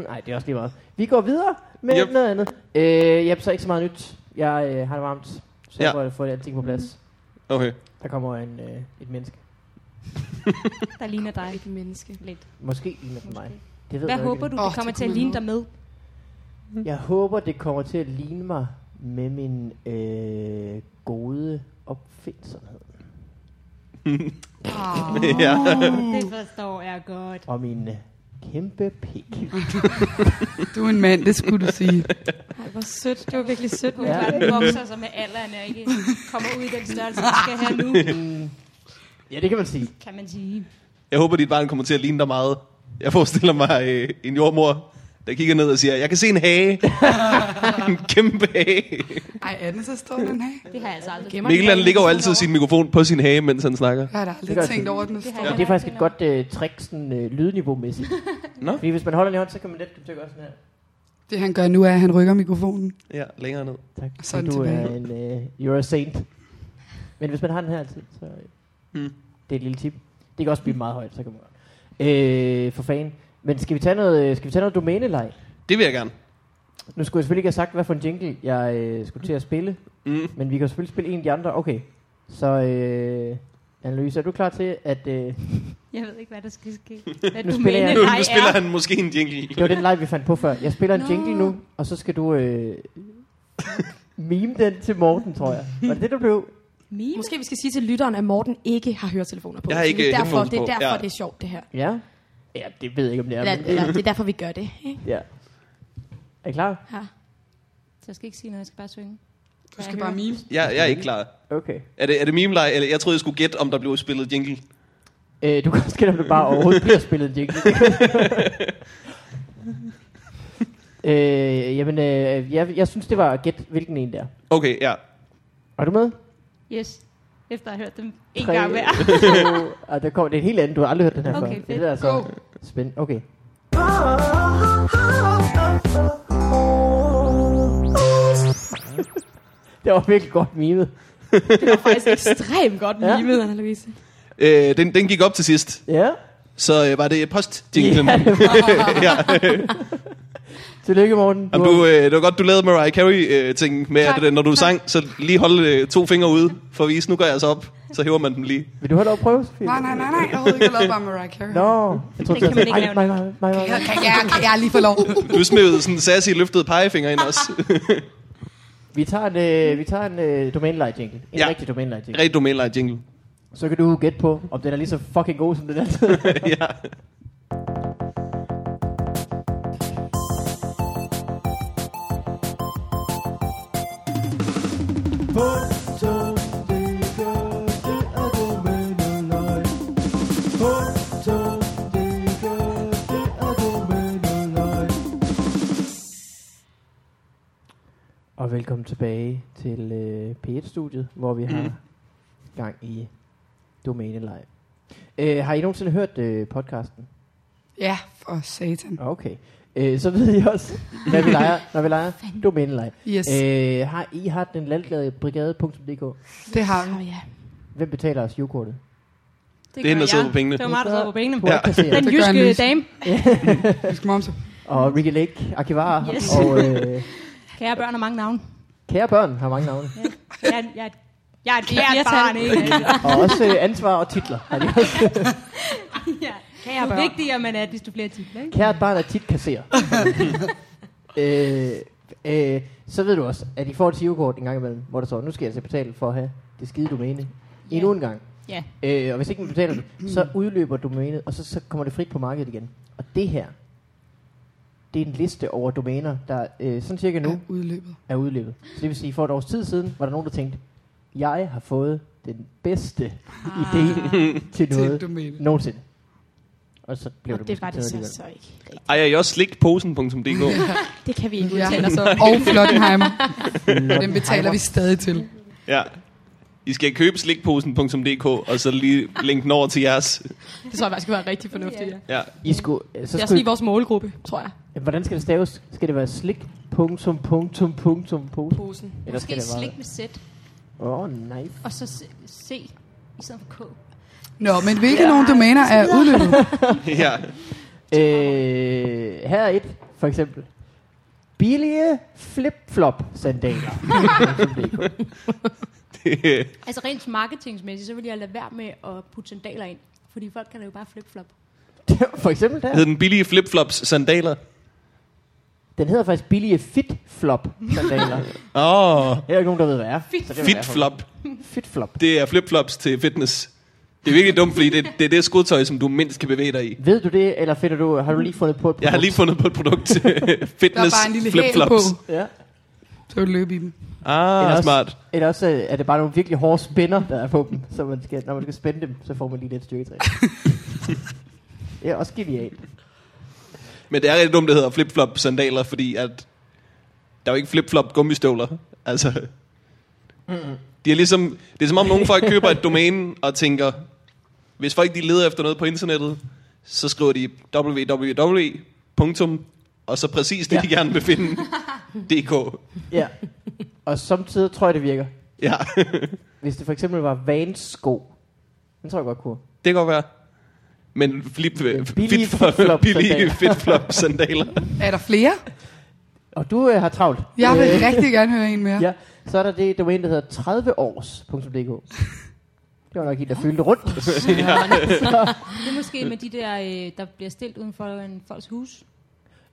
Speaker 1: nej, det er også lige meget. Vi går videre med
Speaker 5: Yep.
Speaker 1: yep. noget andet. Øh, yep, så ikke så meget nyt. Jeg øh, har det varmt. Så
Speaker 5: Ja.
Speaker 1: jeg ja. får alting på plads.
Speaker 5: Okay.
Speaker 1: Der kommer en, øh, et menneske.
Speaker 7: Der ligner dig.
Speaker 2: Et menneske.
Speaker 7: Lidt.
Speaker 1: Måske ligner den mig. Det ved
Speaker 7: Hvad
Speaker 1: jeg
Speaker 7: håber
Speaker 1: ikke.
Speaker 7: du,
Speaker 3: Åh,
Speaker 7: det
Speaker 3: det
Speaker 7: kommer til at
Speaker 3: kunne
Speaker 7: ligne
Speaker 3: man
Speaker 7: dig med?
Speaker 1: Jeg håber, det kommer til at ligne mig med min øh, gode opfindsomhed.
Speaker 5: ja.
Speaker 7: Det forstår jeg godt.
Speaker 1: Og min øh, Kæmpe pik.
Speaker 3: Du er en mand, det skulle du sige.
Speaker 2: Ej, hvor sødt. Det var virkelig sødt.
Speaker 7: Det
Speaker 2: Men.
Speaker 7: er
Speaker 1: Ja.
Speaker 7: klart, den vokser sig med alderen og ikke kommer ud i den størrelse, den skal have nu,
Speaker 1: Ja, det kan man sige.
Speaker 7: kan man sige.
Speaker 5: Jeg håber, dit barn kommer til at ligne dig meget. Jeg forestiller mig øh, en jordmor, der kigger ned og siger, jeg kan se en hage. en kæmpe hage.
Speaker 3: Ej, er den så stor, den her?
Speaker 7: Det har jeg altså aldrig
Speaker 5: Mikkel han ligger jo altid sin mikrofon på sin hage, mens han snakker.
Speaker 3: Jeg har da
Speaker 1: Det
Speaker 3: aldrig
Speaker 1: gør
Speaker 3: tænkt
Speaker 1: det.
Speaker 3: over, at den er
Speaker 7: Det
Speaker 3: stor.
Speaker 7: har jeg
Speaker 1: Det er faktisk et
Speaker 7: heller
Speaker 1: godt øh, trick, sådan øh, lydniveau-mæssigt.
Speaker 5: Nå.
Speaker 1: Fordi hvis man holder den i hånden, så kan man let komme til at gøre sådan her.
Speaker 3: Det han gør nu er, at han rykker mikrofonen.
Speaker 5: Ja, længere ned.
Speaker 1: Tak.
Speaker 3: Og så er den
Speaker 1: du er
Speaker 3: tilbage.
Speaker 1: en, øh, you're a saint. Men hvis man har den her altid, så øh,
Speaker 5: Mm.
Speaker 1: det er et lille tip. Det kan også blive meget højt, så kan man godt. Øh, for fan. Men skal vi tage noget, øh, skal vi tage noget domæneleg?
Speaker 5: Det vil jeg gerne.
Speaker 1: Nu skulle jeg selvfølgelig ikke have sagt, hvad for en jingle jeg øh, skulle til at spille.
Speaker 5: Mm.
Speaker 1: Men vi kan jo selvfølgelig spille en af de andre. Okay. Så øh, Annelise, er du klar til at... Øh,
Speaker 7: Jeg ved ikke, hvad der skal ske. Hvad
Speaker 1: Nu
Speaker 7: du
Speaker 1: spiller
Speaker 7: mener,
Speaker 1: jeg-
Speaker 7: nej
Speaker 5: Nu spiller han måske en jingle.
Speaker 1: det var den leg, vi fandt på før. Jeg spiller en
Speaker 7: Nå.
Speaker 1: jingle nu, og så skal du... Øh, mime den til Morten, tror jeg. Var det det, du blev?
Speaker 7: Mime?
Speaker 4: Måske vi skal sige til lytteren, at Morten ikke har høretelefoner på.
Speaker 5: Jeg har
Speaker 4: Så
Speaker 5: ikke
Speaker 4: det er derfor,
Speaker 5: headphones
Speaker 4: det er
Speaker 5: på,
Speaker 4: derfor,
Speaker 5: ja.
Speaker 4: det er sjovt, det her.
Speaker 1: Ja. Ja, det ved jeg ikke, om det er.
Speaker 4: Eller,
Speaker 1: men-
Speaker 4: eller, det er derfor, vi gør det. Ikke?
Speaker 1: Ja. Er I klar?
Speaker 4: Ja.
Speaker 7: Så jeg skal ikke sige noget, jeg skal bare synge.
Speaker 3: Du skal bare mime.
Speaker 5: Jeg, jeg er ikke klar.
Speaker 1: Okay.
Speaker 5: Er det, er det meme eller jeg troede, jeg skulle gætte, om der blev spillet jingle.
Speaker 1: Øh, du kan også gætte, om det bare overhovedet bliver spillet jingle. øh, jamen, øh, jeg, jeg synes, det var at gætte, hvilken en der.
Speaker 5: Okay, ja.
Speaker 1: Er du med?
Speaker 7: Yes, efter at have hørt dem en
Speaker 1: Tre,
Speaker 7: gang hver.
Speaker 1: to- Ej, der kommer det er en helt anden. Du har aldrig hørt den her
Speaker 7: Okay,
Speaker 1: før.
Speaker 7: fedt.
Speaker 1: Det er altså spændende. Okay. Det var virkelig godt mimet.
Speaker 4: Det var faktisk ekstremt godt
Speaker 1: Ja.
Speaker 4: mimet, Anna Louise.
Speaker 5: Øh, den, den gik op til sidst.
Speaker 1: Ja.
Speaker 5: Så øh, var det post-jinglen.
Speaker 1: Ja,
Speaker 5: Yeah.
Speaker 1: det var. Tillykke, Morten.
Speaker 5: Jamen,
Speaker 1: har-
Speaker 5: du, øh, det var godt, du lavede Mariah Carey-ting med, at øh, når du sang, så lige holde øh, to fingre ude for at vise, nu går jeg altså op. Så hæver man dem lige.
Speaker 1: Vil du have lov at prøve, Sofie?
Speaker 3: Nej, nej, nej, nej. Jeg har ikke lavet bare Mariah Carey.
Speaker 1: Nå, jeg tror,
Speaker 7: Den kan man ikke
Speaker 1: nej,
Speaker 7: lave
Speaker 1: nej, nej, nej, nej.
Speaker 3: Kan jeg, kan jeg lige få lov?
Speaker 5: Du smed sådan en sassy løftet pegefinger ind også.
Speaker 1: Vi tager en, øh, vi tager en øh, domænelej jingle. En
Speaker 5: Ja.
Speaker 1: ja. rigtig domænelej jingle.
Speaker 5: Rigtig domænelejt jingle.
Speaker 1: Så kan du gætte på, om den er lige så fucking god som den altid.
Speaker 5: ja.
Speaker 1: Og velkommen tilbage til øh, P1-studiet, hvor vi har gang i domænelej. Øh, har I nogensinde hørt øh, podcasten?
Speaker 3: Ja, for satan.
Speaker 1: Okay. Øh, så ved I også, hvad vi leger, når vi leger domænelej.
Speaker 3: Yes,
Speaker 1: Øh, har I har den lalglade brigade.dk?
Speaker 3: det har vi.
Speaker 4: Oh, ja.
Speaker 1: Hvem betaler os jukortet?
Speaker 5: Det er hende, der sidder på pengene.
Speaker 7: Det var mig, der sidder på pengene.
Speaker 1: Ja.
Speaker 7: Den
Speaker 3: Det gør en
Speaker 7: jyske
Speaker 3: lys.
Speaker 7: dame.
Speaker 3: Vi skal momse.
Speaker 1: Og Ricky Lake, Arkivar
Speaker 7: Yes.
Speaker 1: og øh,
Speaker 7: Kære børn har mange navne.
Speaker 1: kære børn har mange navne.
Speaker 7: Jeg, er- jeg, er- jeg er et
Speaker 4: Kært
Speaker 7: kært
Speaker 4: barn,
Speaker 7: barn, ikke?
Speaker 1: Og også øh, ansvar og titler. Har de også.
Speaker 7: ja. Kære børn. Jo vigtigere man er, desto flere titler, ikke?
Speaker 1: Kært barn er tit kasserer. øh, øh, så ved du også, at I får et sivekort en gang imellem, hvor der står, nu skal jeg altså betale for at have det skide domæne.
Speaker 7: Ja.
Speaker 1: Endnu en gang.
Speaker 7: Ja.
Speaker 1: Øh, og hvis ikke man betaler det, så udløber domænet, og så, så kommer det frit på markedet igen. Og det her, det er en liste over domæner, der øh, sådan cirka nu
Speaker 3: Nu udløbet.
Speaker 1: er udløbet. Så det vil sige, for et års tid siden, var der nogen, der tænkte, jeg har fået den bedste
Speaker 4: Ah.
Speaker 1: idé til
Speaker 3: Til
Speaker 1: noget
Speaker 3: domæne.
Speaker 1: nogensinde. Og så blev
Speaker 4: Og
Speaker 1: det,
Speaker 4: det var det
Speaker 1: måske til
Speaker 4: så,
Speaker 1: noget
Speaker 4: så ikke rigtigt.
Speaker 5: Ej, er I også slikposen.dk?
Speaker 4: Det kan vi ikke
Speaker 3: Ja.
Speaker 4: udtale os om.
Speaker 3: Og Flottenheimer.
Speaker 1: alligevel.
Speaker 3: Den betaler vi stadig til.
Speaker 5: ja. I skal købe slikposen.dk, og så lige linken over til jeres.
Speaker 4: Det tror jeg faktisk var rigtig fornuftigt. Ja.
Speaker 5: Ja.
Speaker 1: I skulle, øh, så
Speaker 4: Det er også
Speaker 1: skulle,
Speaker 4: lige vores målgruppe, tror jeg.
Speaker 1: I- hvordan skal det staves? Skal det være slik, punktum, punktum, punktum, punktum?
Speaker 4: Posen.
Speaker 1: Eller skal
Speaker 7: Måske
Speaker 1: det
Speaker 7: slik
Speaker 1: være...
Speaker 7: med sæt,
Speaker 1: Åh, oh, nej.
Speaker 7: og så se- se i stedet for K.
Speaker 3: Nå, men hvilke nogle domæner er udløbet?
Speaker 5: ja.
Speaker 1: Øh, her er et, for eksempel. Billige flip-flop sandaler.
Speaker 5: Det,
Speaker 7: Altså rent marketingsmæssigt, så vil jeg lade være med at putte sandaler ind. Fordi folk kan da jo bare flip-flop.
Speaker 1: for eksempel der.
Speaker 5: hed den billige flipflops sandaler.
Speaker 1: Den hedder faktisk billige fit-flop sandaler.
Speaker 5: Åh, oh,
Speaker 1: Her er ikke nogen, der ved, hvad er.
Speaker 7: Fit-
Speaker 1: Så det var derfor.
Speaker 5: fitflop.
Speaker 1: Fit flop.
Speaker 5: Det er flipflops til fitness. Det er virkelig dumt, fordi det, det er det skotøj, som du mindst kan bevæge dig i.
Speaker 1: Ved du det, eller finder du, har du lige fundet på et produkt?
Speaker 5: Jeg har lige fundet på et produkt.
Speaker 3: Der er
Speaker 5: Fitness
Speaker 3: bare en lille hæl på,
Speaker 5: flip-flops.
Speaker 1: Ja.
Speaker 3: så vil du løbe i dem.
Speaker 5: Ah,
Speaker 1: Ellers-
Speaker 5: smart.
Speaker 1: Eller også øh, er det bare nogle virkelig hårde spænder, der er på dem, så man skal, når man skal spænde dem, så får man lige lidt styrketræning. det er også genialt.
Speaker 5: Men det er rigtig dumt, det hedder flip-flop sandaler, fordi at der er jo ikke flip-flop gummistøvler. Altså, de er ligesom, det er som om nogle folk køber et domæne og tænker, hvis folk de leder efter noget på internettet, så skriver de www. punktum, og så præcis det, ja. de gerne vil finde. DK.
Speaker 1: Ja. Og samtidig tror jeg, det virker.
Speaker 5: Ja,
Speaker 1: Hvis det for eksempel var vansko, den tror jeg godt kunne.
Speaker 5: det kan godt være. Men flip,
Speaker 1: er
Speaker 5: billige
Speaker 1: billige
Speaker 5: fit-flop,
Speaker 1: flip-flop
Speaker 5: billige
Speaker 1: sandaler.
Speaker 5: fit-flop sandaler.
Speaker 3: Er der flere?
Speaker 1: Og du øh, har travlt.
Speaker 3: Jeg vil
Speaker 1: Øh,
Speaker 3: rigtig gerne høre en mere.
Speaker 1: Ja, så er der det domæne, der hedder 30års.dk. Det var nok en, der fyldte rundt.
Speaker 7: Det er måske med de der, øh, der bliver stillet uden for en folks hus.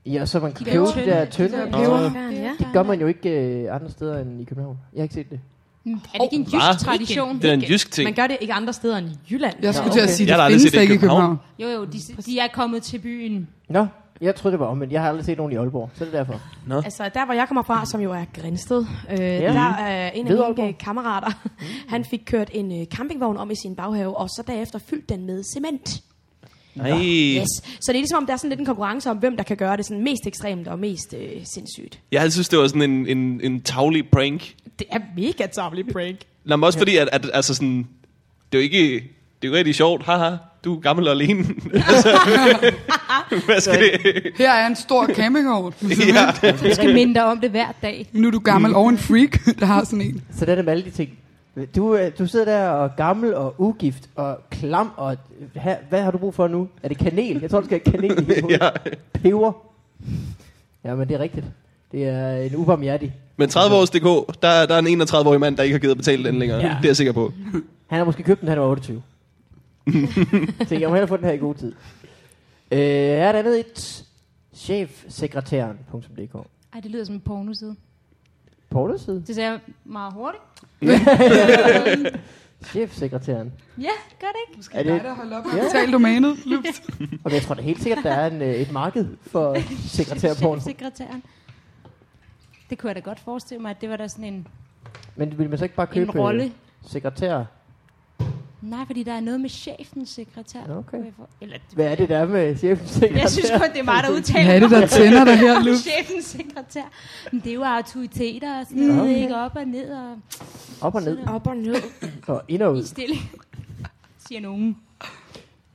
Speaker 1: Ja, så man kan
Speaker 7: der
Speaker 1: købe de
Speaker 7: tynde-
Speaker 1: der
Speaker 7: de
Speaker 1: tynde.
Speaker 7: der
Speaker 1: Det
Speaker 3: peber.
Speaker 2: Ja.
Speaker 1: gør man jo ikke øh, andre steder end i København. Jeg har ikke set det.
Speaker 7: Mm, Er det ikke en
Speaker 5: Hva?
Speaker 7: jysk tradition?
Speaker 5: Det er en jysk ting.
Speaker 4: Man gør det ikke andre steder end i Jylland.
Speaker 3: Jeg skulle til
Speaker 1: okay.
Speaker 3: at sige,
Speaker 5: Jeg har
Speaker 3: det
Speaker 5: aldrig set
Speaker 3: findes ikke
Speaker 5: det i
Speaker 3: i
Speaker 5: København.
Speaker 3: København.
Speaker 7: Jo, jo, de, de er kommet til byen.
Speaker 1: Nå, jeg troede, det var omvendt. Jeg har aldrig set nogen i Aalborg, så det er derfor.
Speaker 4: Altså, der hvor jeg kommer fra, som jo er Grænsted, øh, der er en af
Speaker 1: Ved
Speaker 4: mine
Speaker 1: Aalborg.
Speaker 4: øh, kammerater,
Speaker 1: Mm.
Speaker 4: han fik kørt en øh, campingvogn om i sin baghave, og så derefter fyldt den med cement.
Speaker 5: Nej.
Speaker 4: Yes. Så det er ligesom, om der er sådan lidt en konkurrence om, hvem der kan gøre det sådan mest ekstremt og mest øh, sindssygt.
Speaker 5: Jeg havde synes, det var sådan en, en, en tavlig prank.
Speaker 4: Det er mega tavlig prank.
Speaker 5: Nå, men også fordi, at, at altså sådan, det er jo ikke, det er jo rigtig sjovt. Haha, du er gammel og alene. altså, hvad skal det?
Speaker 3: Her er en stor campingvogn.
Speaker 5: ja.
Speaker 7: Du skal minde dig om det hver dag.
Speaker 3: Nu er du gammel og en freak, der har sådan en.
Speaker 1: Så det er det med alle de ting. Du, øh, du sidder der og er gammel og ugift og klam, og øh, ha, hvad har du brug for nu? Er det kanel? Jeg tror, du skal have kanel i hele hovedet.
Speaker 5: ja.
Speaker 1: Peber. Ja, men det er rigtigt. Det er en ubarmhjertig.
Speaker 5: Men 30 års DK, der, der er en 31-årig mand, der ikke har givet at betale den længere. Ja.
Speaker 1: Ja.
Speaker 5: Det er jeg sikker på.
Speaker 1: Han har måske købt den, han var 28. Så jeg må hellere få den her i god tid. Øh, her er der andet et. Chefsekretæren.dk
Speaker 7: Ej, det lyder som en pornoside.
Speaker 1: Portoside?
Speaker 7: Det sagde jeg meget hurtigt.
Speaker 1: Chefsekretæren.
Speaker 7: Ja, gør det ikke?
Speaker 1: Er det,
Speaker 3: der holder op med
Speaker 1: Ja.
Speaker 3: at betale domænet. Lups.
Speaker 1: og jeg tror da helt sikkert, der er en, øh, et marked for sekretærporno.
Speaker 7: Sekretæren. Det kunne jeg da godt forestille mig, at det var da sådan en,
Speaker 1: Men vil man så ikke bare
Speaker 7: en
Speaker 1: købe øh,
Speaker 7: rolle.
Speaker 1: sekretær?
Speaker 7: Nej, fordi der er noget med chefen sekretær.
Speaker 1: Ja, okay.
Speaker 7: kunne jeg for- Eller, det-
Speaker 1: Hvad er det der er med chefsekretær?
Speaker 7: jeg synes kun, det er mig, der udtaler
Speaker 3: Hvad er det, der tænder dig her,
Speaker 7: mig.
Speaker 3: Lups?
Speaker 7: chefens sekretær. Men det er jo autoriteter og sådan noget,
Speaker 1: okay.
Speaker 7: ikke op og ned og
Speaker 1: Op og ned
Speaker 4: Op og ned.
Speaker 1: og ind og
Speaker 7: i
Speaker 1: ud.
Speaker 7: stille, siger nogen.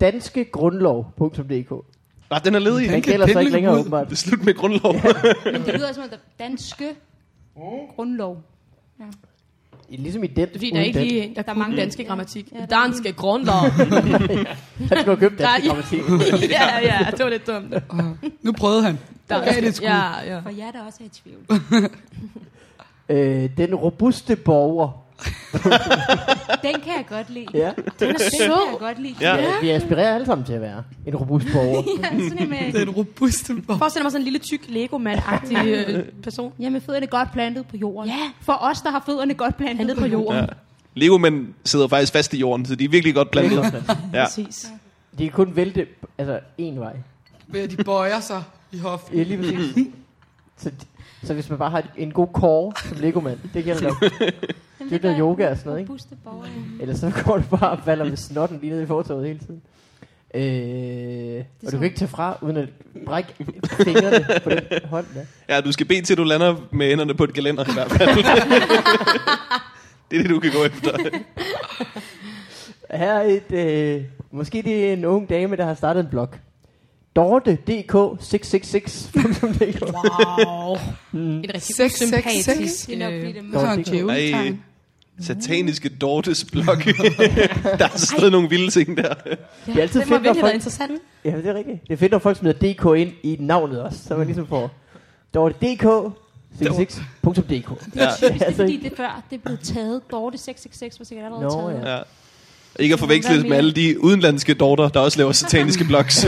Speaker 1: Danskegrundlov.dk
Speaker 5: Ah, den er ledig.
Speaker 1: Den
Speaker 3: kan
Speaker 1: gælder så ikke
Speaker 3: pendle
Speaker 1: længere
Speaker 3: ud.
Speaker 1: åbenbart.
Speaker 5: Det er slut med grundlov.
Speaker 7: Men det lyder som om, der er danske grundlov.
Speaker 1: Ligesom i den.
Speaker 4: Fordi der er ikke lige en, der, der er mange danske grammatik. Ja, der Danske grundlov.
Speaker 1: Han skulle have købt
Speaker 4: Der er-
Speaker 1: dansk grammatik.
Speaker 4: ja, ja, det var lidt dumt.
Speaker 3: Nu prøvede han.
Speaker 4: Der,
Speaker 3: Gav det et skud.
Speaker 4: ja, ja.
Speaker 7: For jer, der også er i tvivl.
Speaker 1: øh, den robuste borger.
Speaker 7: Den kan jeg godt lide.
Speaker 1: Ja.
Speaker 7: Den er sød. Den kan jeg godt lide.
Speaker 5: Ja.
Speaker 1: ja. Altså, Vi aspirerer alle sammen til at være en robust borger.
Speaker 7: Ja, sådan en med...
Speaker 3: Den robuste borg.
Speaker 4: Forestil dig mig sådan en lille tyk Lego-mand-agtig øh, person.
Speaker 7: Jamen, fødderne er godt plantet på jorden.
Speaker 4: Ja.
Speaker 7: For os, der har fødderne godt plantet,
Speaker 4: Han er på jorden. Ja.
Speaker 5: Lego mænd sidder faktisk fast i jorden, så de er virkelig godt plantet. Ja.
Speaker 4: Præcis.
Speaker 1: De kan kun vælte altså, én vej.
Speaker 3: Ved at de bøjer sig i hoften.
Speaker 1: Ja, lige
Speaker 3: Mm.
Speaker 1: præcis. så, så hvis man bare har en god core som legomand, det gælder nok.
Speaker 7: Jamen,
Speaker 1: Det er noget
Speaker 7: gør
Speaker 1: yoga og sådan noget, ikke?
Speaker 7: robuste borgere.
Speaker 1: Ellers så går du bare og falder med snotten lige ned i fortoget hele tiden. Øh, og du
Speaker 7: som-
Speaker 1: kan ikke tage fra, uden at brække fingrene på den hånd. Der.
Speaker 5: ja, du skal bede til, at du lander med hænderne på et gelænder i hvert fald. det er det, du kan gå efter.
Speaker 1: Her er et, øh, måske det er en ung dame, der har startet en blog. Dorte.dk666.dk
Speaker 4: Wow. Mm. Et rigtig
Speaker 3: Seks, seks,
Speaker 4: sympatisk...
Speaker 3: seks.
Speaker 7: Det er nok fordi,
Speaker 3: Det
Speaker 4: Øh,
Speaker 7: det
Speaker 3: er
Speaker 1: Nå,
Speaker 7: er
Speaker 3: sådan en
Speaker 1: det kan-
Speaker 5: Ej,
Speaker 3: djævletegn.
Speaker 5: sataniske Dortes blog. der er stadig nogle vilde ting
Speaker 1: Det er
Speaker 5: der.
Speaker 1: altid
Speaker 4: det må
Speaker 1: fedt, når
Speaker 4: virkelig
Speaker 1: folk...
Speaker 4: være interessant.
Speaker 1: Ja, det er rigtigt. Det er fedt, når folk smider DK ind i navnet også, så man ligesom får Dorte.dk66.dk
Speaker 5: Ja.
Speaker 7: typisk, det er fordi, det før, det er blevet taget. Dorte 666 var sikkert allerede
Speaker 1: Altså- Nå,
Speaker 7: taget.
Speaker 1: ja.
Speaker 5: Ja. Ikke at forveksles
Speaker 7: Hvad
Speaker 5: med alle de udenlandske dorter, der også laver sataniske blogs.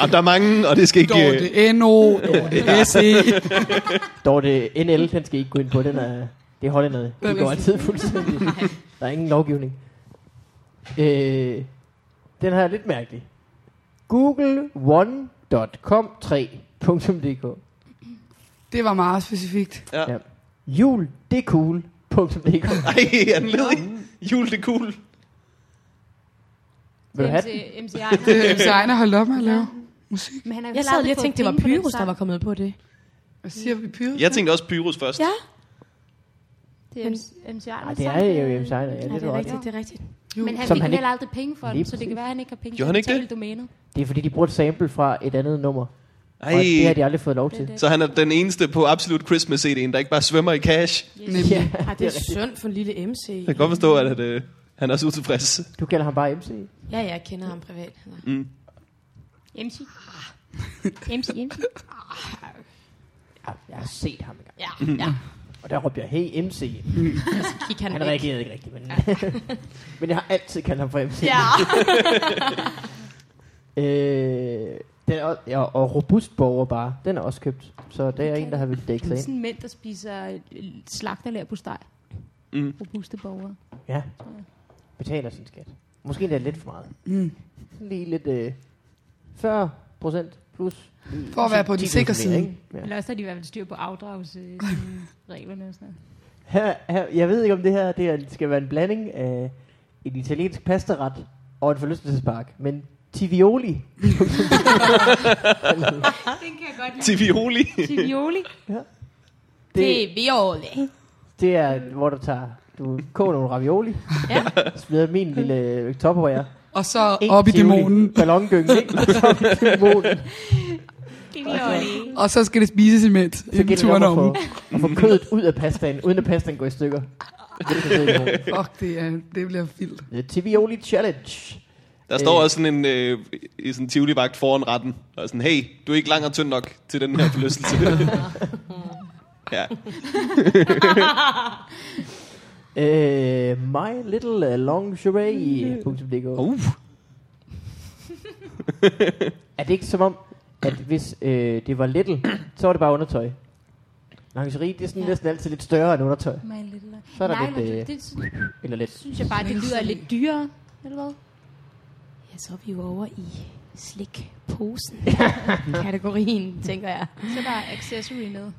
Speaker 5: og der er mange, og det skal ikke... øh,
Speaker 3: Dorte NO, Dorte SE.
Speaker 1: Dorte NL, den skal I ikke gå ind på. Den er, det er hollænderne.
Speaker 3: Den
Speaker 1: De
Speaker 3: er
Speaker 1: går
Speaker 3: fint.
Speaker 1: altid fuldstændig. Der er ingen lovgivning. Øh, den her er lidt mærkelig. Google1.com3.dk
Speaker 3: Det var meget specifikt.
Speaker 5: Ja.
Speaker 1: Ja. Jul, det er cool.dk
Speaker 5: Ej, er den ledig? Jul, det er cool.
Speaker 1: Vil du have den?
Speaker 7: MC, MCI.
Speaker 3: Det er Sejner Øh, holdt op med at lave musik.
Speaker 7: Men han har
Speaker 4: Jeg sad lige og tænkte, det var Pyrus, der var kommet på det.
Speaker 3: Hvad siger vi, Pyrus?
Speaker 5: Jeg tænkte også Pyrus først.
Speaker 4: Ja,
Speaker 7: Det er MCI.
Speaker 1: Ej, det er jo MC Ejner, ja, det,
Speaker 4: ja
Speaker 1: er
Speaker 4: det
Speaker 1: du
Speaker 4: er
Speaker 1: ret.
Speaker 4: rigtigt, det er rigtigt.
Speaker 3: Jo.
Speaker 7: Men han
Speaker 1: Som
Speaker 7: fik
Speaker 1: han
Speaker 7: heller aldrig penge for
Speaker 1: Lige
Speaker 7: den, så det
Speaker 1: præcis.
Speaker 7: kan være, at han ikke har penge
Speaker 5: Gjorde han ikke
Speaker 7: betale domænet.
Speaker 1: det er fordi, de brugte sample fra et andet nummer. Og det har
Speaker 5: Ej.
Speaker 1: de aldrig fået lov til.
Speaker 5: Så han er den eneste på Absolut Christmas-CD'en, der ikke bare svømmer i cash.
Speaker 1: Ja,
Speaker 4: Ej, det er synd for en lille MC.
Speaker 5: Jeg kan godt forstå, at, at øh, han er også utilfreds.
Speaker 1: Du kalder ham bare MC.
Speaker 4: Ja, jeg kender ham privat.
Speaker 7: MC. MC, MC.
Speaker 1: Ja, Jeg har set ham engang.
Speaker 4: Ja, ja.
Speaker 1: Og der råbte jeg, hey MC.
Speaker 4: Gik han
Speaker 1: Han
Speaker 4: væk.
Speaker 1: reagerede ikke rigtigt, men, men jeg har altid kaldt ham for MC.
Speaker 4: Ja.
Speaker 1: Øh, den er, også- ja, og robust borger bare, den er også købt. Så der er en, der har vildt dække sig ind.
Speaker 7: Sådan mænd, der spiser øh, slagterlær på steg.
Speaker 5: Mm.
Speaker 7: Robuste borgere.
Speaker 1: Ja. Betaler sin skat. Måske endda lidt for meget.
Speaker 3: Mm.
Speaker 1: Lige lidt øh, 40 procent plus.
Speaker 3: For at være på den
Speaker 1: 10.000
Speaker 3: sikre
Speaker 1: mere,
Speaker 3: side.
Speaker 1: ikke? Ja.
Speaker 7: Eller også har de i hvert fald styr på afdragsreglerne og sådan noget.
Speaker 1: Her, her, jeg ved ikke, om det her det her skal være en blanding af en italiensk pastaret og en forlystelsespark. Men Tivioli.
Speaker 7: Ah, Den kan jeg godt lide.
Speaker 5: Tivioli.
Speaker 7: Tivioli.
Speaker 1: Det,
Speaker 4: Viole.
Speaker 1: det er, hvor du tager... Du koger nogle ravioli. Ja. Smider min lille øh, topperware.
Speaker 3: Og så op i
Speaker 1: Tivoli.
Speaker 3: dæmonen.
Speaker 1: Ballongyngen, ikke? Og så op i dæmonen.
Speaker 7: Tivioli.
Speaker 3: Og så skal det spises imens.
Speaker 1: Så
Speaker 3: Så
Speaker 1: gælder det
Speaker 3: turen
Speaker 1: om at
Speaker 3: om.
Speaker 1: få, at få kødet ud af pastaen, uden at pastaen går i stykker. Det
Speaker 3: Fuck, det, er, det bliver vildt.
Speaker 1: er Øh, Tivioli Challenge.
Speaker 5: Der står også sådan en øh, i sådan en tivoli-vagt foran retten. Der er sådan, hey, du er ikke lang og tynd nok til den her forlystelse. ja.
Speaker 1: Øh, my little lingerie.dk
Speaker 5: Uh.
Speaker 1: Er det ikke som om, at hvis øh, det var little, så var det bare undertøj? Lingerie, det er sådan ja.
Speaker 7: Ja.
Speaker 1: næsten altid lidt større end undertøj.
Speaker 7: My little...
Speaker 1: Så er der
Speaker 7: Nej,
Speaker 1: lidt,
Speaker 7: men
Speaker 1: øh,
Speaker 7: det, det sy-
Speaker 1: Eller lidt.
Speaker 7: synes jeg bare, det lyder lidt dyrere. Eller hvad?
Speaker 4: Ja, så er vi jo over i slikposen. Kategorien, tænker jeg.
Speaker 7: Så er der accessory med.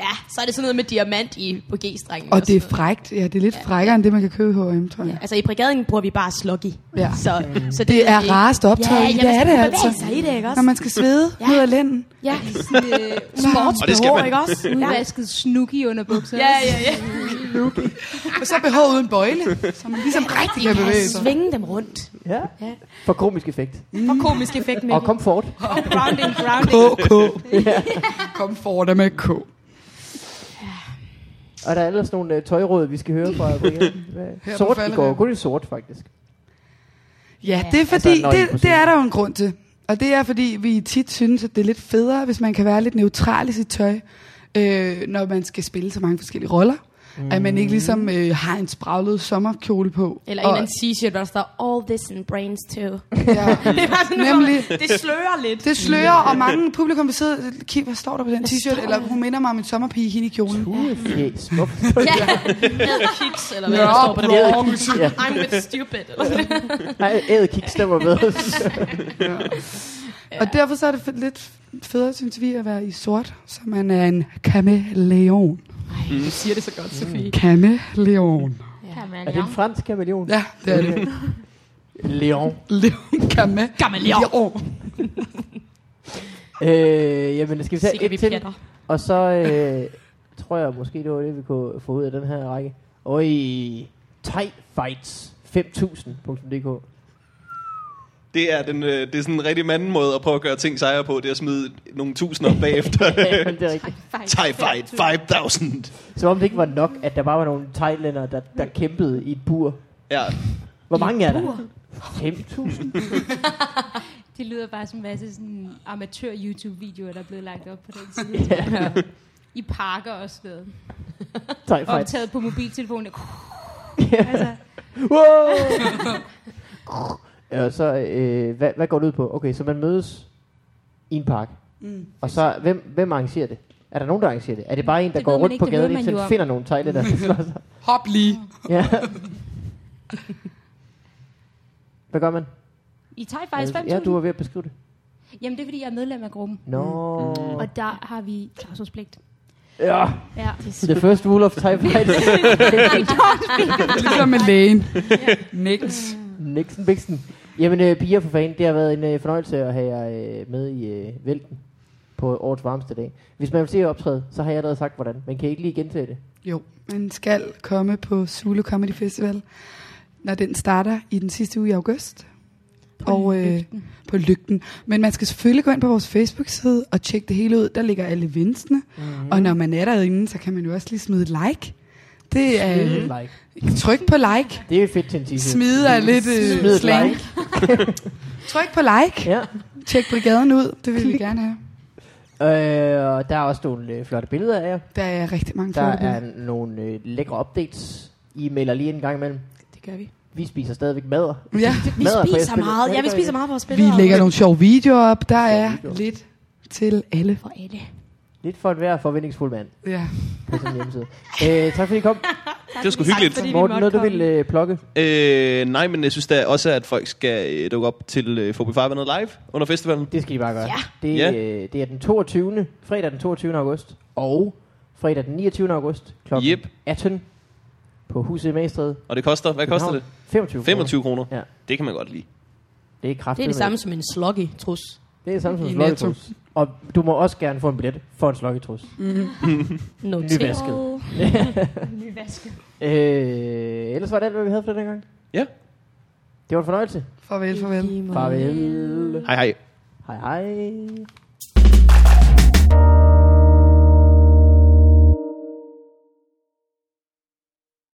Speaker 4: Ja, så er det sådan noget med diamant i, på G-strengen.
Speaker 3: Og det er
Speaker 4: sådan
Speaker 3: frægt. Ja, det er lidt frækkere end det, man kan købe i H&M, tror
Speaker 4: noget.
Speaker 3: jeg.
Speaker 4: Ja, altså i brigaden bruger vi bare sloggy.
Speaker 3: Ja.
Speaker 4: Så, så det,
Speaker 3: Det er
Speaker 4: ikke-
Speaker 3: rarest optøj.
Speaker 4: Ja,
Speaker 3: i.
Speaker 4: ja,
Speaker 3: det
Speaker 4: man
Speaker 3: er
Speaker 4: skal
Speaker 3: det
Speaker 4: kunne
Speaker 3: altså.
Speaker 4: bevæge sig i det, ikke også?
Speaker 3: Når man skal svede
Speaker 4: Ja.
Speaker 3: ud af lænden.
Speaker 4: Ja, i sådan øh,
Speaker 5: Og det skal
Speaker 4: sportsbehov,
Speaker 5: man.
Speaker 4: ikke også? Ja,
Speaker 7: Udvasket snuki under bukser.
Speaker 4: ja, ja. ja.
Speaker 3: Og så behov uden bøjle, så man ligesom rigtig kan bevæge sig.
Speaker 4: Svinge dem rundt.
Speaker 1: Ja.
Speaker 4: Ja.
Speaker 1: For komisk effekt.
Speaker 4: For komisk effekt med
Speaker 1: Og komfort.
Speaker 4: grounding, grounding.
Speaker 3: KK. Kom for dig med K.
Speaker 1: Og der er ellers nogle øh, tøjråd, vi skal høre fra Brian. Hvad-
Speaker 3: Her på
Speaker 1: Sort i går.
Speaker 3: falderebet.
Speaker 1: Kun i sort, faktisk.
Speaker 3: Ja, det er
Speaker 1: altså,
Speaker 3: fordi,
Speaker 1: når I er
Speaker 3: det,
Speaker 1: på
Speaker 3: det
Speaker 1: scenen.
Speaker 3: er der jo en grund til. Og det er fordi, vi tit synes, at det er lidt federe, hvis man kan være lidt neutral i sit tøj, øh, når man skal spille så mange forskellige roller. Mm. At man ikke ligesom øh, har en spraglet sommerkjole på.
Speaker 4: Eller en eller anden t-shirt, hvor der står All this in brains too.
Speaker 3: ja.
Speaker 4: det er bare sådan,
Speaker 3: Nemlig.
Speaker 4: hvor- Det slører lidt.
Speaker 3: Det slører, og mange publikum vil sidde og kigge, hvad står der på den t-shirt? Eller hun minder mig om en sommerpige, hende i kjolen.
Speaker 1: Hundefjæs. Hvorfor
Speaker 4: Ja, med kiks, eller hvad
Speaker 3: Nå,
Speaker 4: der står på den.
Speaker 1: Æd kiks, ja.
Speaker 4: I'm with stupid. Eller sådan.
Speaker 1: Ej, æd kiks, den var bedre.
Speaker 3: Og derfor så er det f- lidt federe, synes vi, at være i sort, så man er en kameleon.
Speaker 4: Du siger det så
Speaker 7: Mm.
Speaker 4: godt, Sofie.
Speaker 3: Kameleon.
Speaker 1: er det en fransk kameleon?
Speaker 3: Ja, det er det.
Speaker 1: Leon.
Speaker 3: Leon Kame.
Speaker 4: Kameleon.
Speaker 1: Øh, jamen, skal vi tage
Speaker 4: Sikkert, vi
Speaker 1: et til?
Speaker 4: pjatter.
Speaker 1: Og så øh, tror jeg måske, det var det, vi kunne få ud af den her række. Og i Thai Fights 5000.dk.
Speaker 5: Det er, den, øh, det er sådan en rigtig manden måde at prøve at gøre ting sejre på. Det er at smide nogle tusinder op bagefter.
Speaker 1: Ja, men det er rigtigt.
Speaker 5: Thai fight 5000.
Speaker 1: Som om det ikke var nok, at der bare var nogle thailænder, der, der kæmpede i et bur.
Speaker 5: Ja,
Speaker 1: Hvor mange er der? 5.000?
Speaker 7: Uh. Det lyder bare som en masse sådan amatør YouTube-videoer, der er blevet lagt op på den side. I parker og sådan noget.
Speaker 1: Thai Fights.
Speaker 7: Optaget på mobiltelefonen. Altså,
Speaker 1: Wow! og så, øh, hvad, hvad går det ud på? Okay, så man mødes i en park. Mm. Og så, hvem, hvem arrangerer det? Er der nogen, der arrangerer det? Er det bare en, der
Speaker 7: Det
Speaker 1: går
Speaker 7: ved man
Speaker 1: rundt
Speaker 7: ikke,
Speaker 1: på
Speaker 7: det ved
Speaker 1: gaden,
Speaker 7: man
Speaker 1: indtil
Speaker 7: jo
Speaker 1: den
Speaker 7: om.
Speaker 1: finder nogle thailænder, der slår sig?
Speaker 3: Hop lige.
Speaker 1: Ja. Hvad gør man?
Speaker 7: I tager faktisk 5.000.
Speaker 1: ja, du var ved at beskrive det.
Speaker 7: Jamen, det er, fordi jeg er medlem af gruppen.
Speaker 1: Nå.
Speaker 7: Mm.
Speaker 1: No.
Speaker 7: Og der har vi tavshedspligt.
Speaker 1: Ja,
Speaker 7: Ja.
Speaker 1: the first rule of Thai fighting.
Speaker 3: Ligesom med lægen. Niks.
Speaker 1: Nixon Bixen. Jamen, øh, piger for fanden, det har været en øh, fornøjelse at have jer øh, med i øh, vælten på årets varmeste dag. Hvis man vil se jer optræde, så har jeg allerede sagt, hvordan. Man kan I ikke lige gentage det.
Speaker 3: Jo, man skal komme på Zulu Comedy Festival, når den starter i den sidste uge i august. På og lygten. Øh, på lygten. Men man skal selvfølgelig gå ind på vores Facebook-side og tjekke det hele ud. Der ligger alle vindsene. Mm-hmm. Og når man er derinde, så kan man jo også lige smide et like. Det er øh,
Speaker 1: Mm. Like.
Speaker 3: tryk på like.
Speaker 1: Det er fedt til en t-shirt.
Speaker 3: Smide er lidt
Speaker 1: Smid
Speaker 3: øh,
Speaker 1: et
Speaker 3: slang.
Speaker 1: like.
Speaker 3: Tryk på like.
Speaker 1: Ja.
Speaker 3: Tjek brigaden ud. Det vil vi gerne have.
Speaker 1: Øh, og der er også nogle øh, flotte billeder af jer.
Speaker 3: Der er rigtig mange
Speaker 1: Der
Speaker 3: flotte billeder.
Speaker 1: er nogle øh, lækre updates. I melder lige en gang imellem.
Speaker 3: Det gør vi.
Speaker 1: Vi spiser stadigvæk madder.
Speaker 3: Ja.
Speaker 4: Vi
Speaker 1: Madder på
Speaker 4: spiser
Speaker 1: F-spillet.
Speaker 4: meget.
Speaker 1: Ja,
Speaker 4: Ja, vi
Speaker 1: det gør
Speaker 4: spiser
Speaker 1: I.
Speaker 4: meget på vores
Speaker 3: Vi
Speaker 4: spillere.
Speaker 3: lægger nogle sjove videoer op. Der
Speaker 1: Sjove
Speaker 3: er
Speaker 1: videoer.
Speaker 3: lidt til alle.
Speaker 4: For alle.
Speaker 1: Lidt for enhver forventningsfuld mand
Speaker 3: Ja.
Speaker 1: på sådan en hjemmeside. øh, tak fordi I kom.
Speaker 5: Det var sgu hyggeligt.
Speaker 4: fordi vi
Speaker 1: Morten,
Speaker 4: måtte
Speaker 1: noget du
Speaker 4: komme.
Speaker 1: vil øh, plukke?
Speaker 5: Øh, nej, men jeg synes da også, at folk skal øh, dukke op til øh, Fobi Farvandet live under festivalen.
Speaker 1: Det skal I bare gøre.
Speaker 4: Ja.
Speaker 1: Det,
Speaker 5: Ja.
Speaker 1: Øh, det er den 22. fredag den 22. august og fredag den 29. august kl.
Speaker 5: Yep.
Speaker 1: 18 på Huset i Magstred.
Speaker 5: Og det koster, hvad koster det?
Speaker 1: 25. kroner.
Speaker 5: 25 kroner.
Speaker 1: Ja.
Speaker 5: Det kan man godt lide.
Speaker 1: Det er kraftigt.
Speaker 4: Det er det samme som en sloggy trus.
Speaker 1: Det er det samme som
Speaker 3: I
Speaker 1: en
Speaker 3: Netto.
Speaker 1: slokketrus. Og du må også gerne få en billet for en slokketrus. Nyvasket.
Speaker 4: Noteret.
Speaker 7: Nyvasket.
Speaker 4: Mm.
Speaker 1: Øh, ellers var det alt, hvad vi havde for den her gang.
Speaker 5: Ja.
Speaker 1: Det var en fornøjelse.
Speaker 3: Farvel, farvel.
Speaker 4: Mm.
Speaker 1: Farvel.
Speaker 5: Hej hej.
Speaker 1: Hej hej.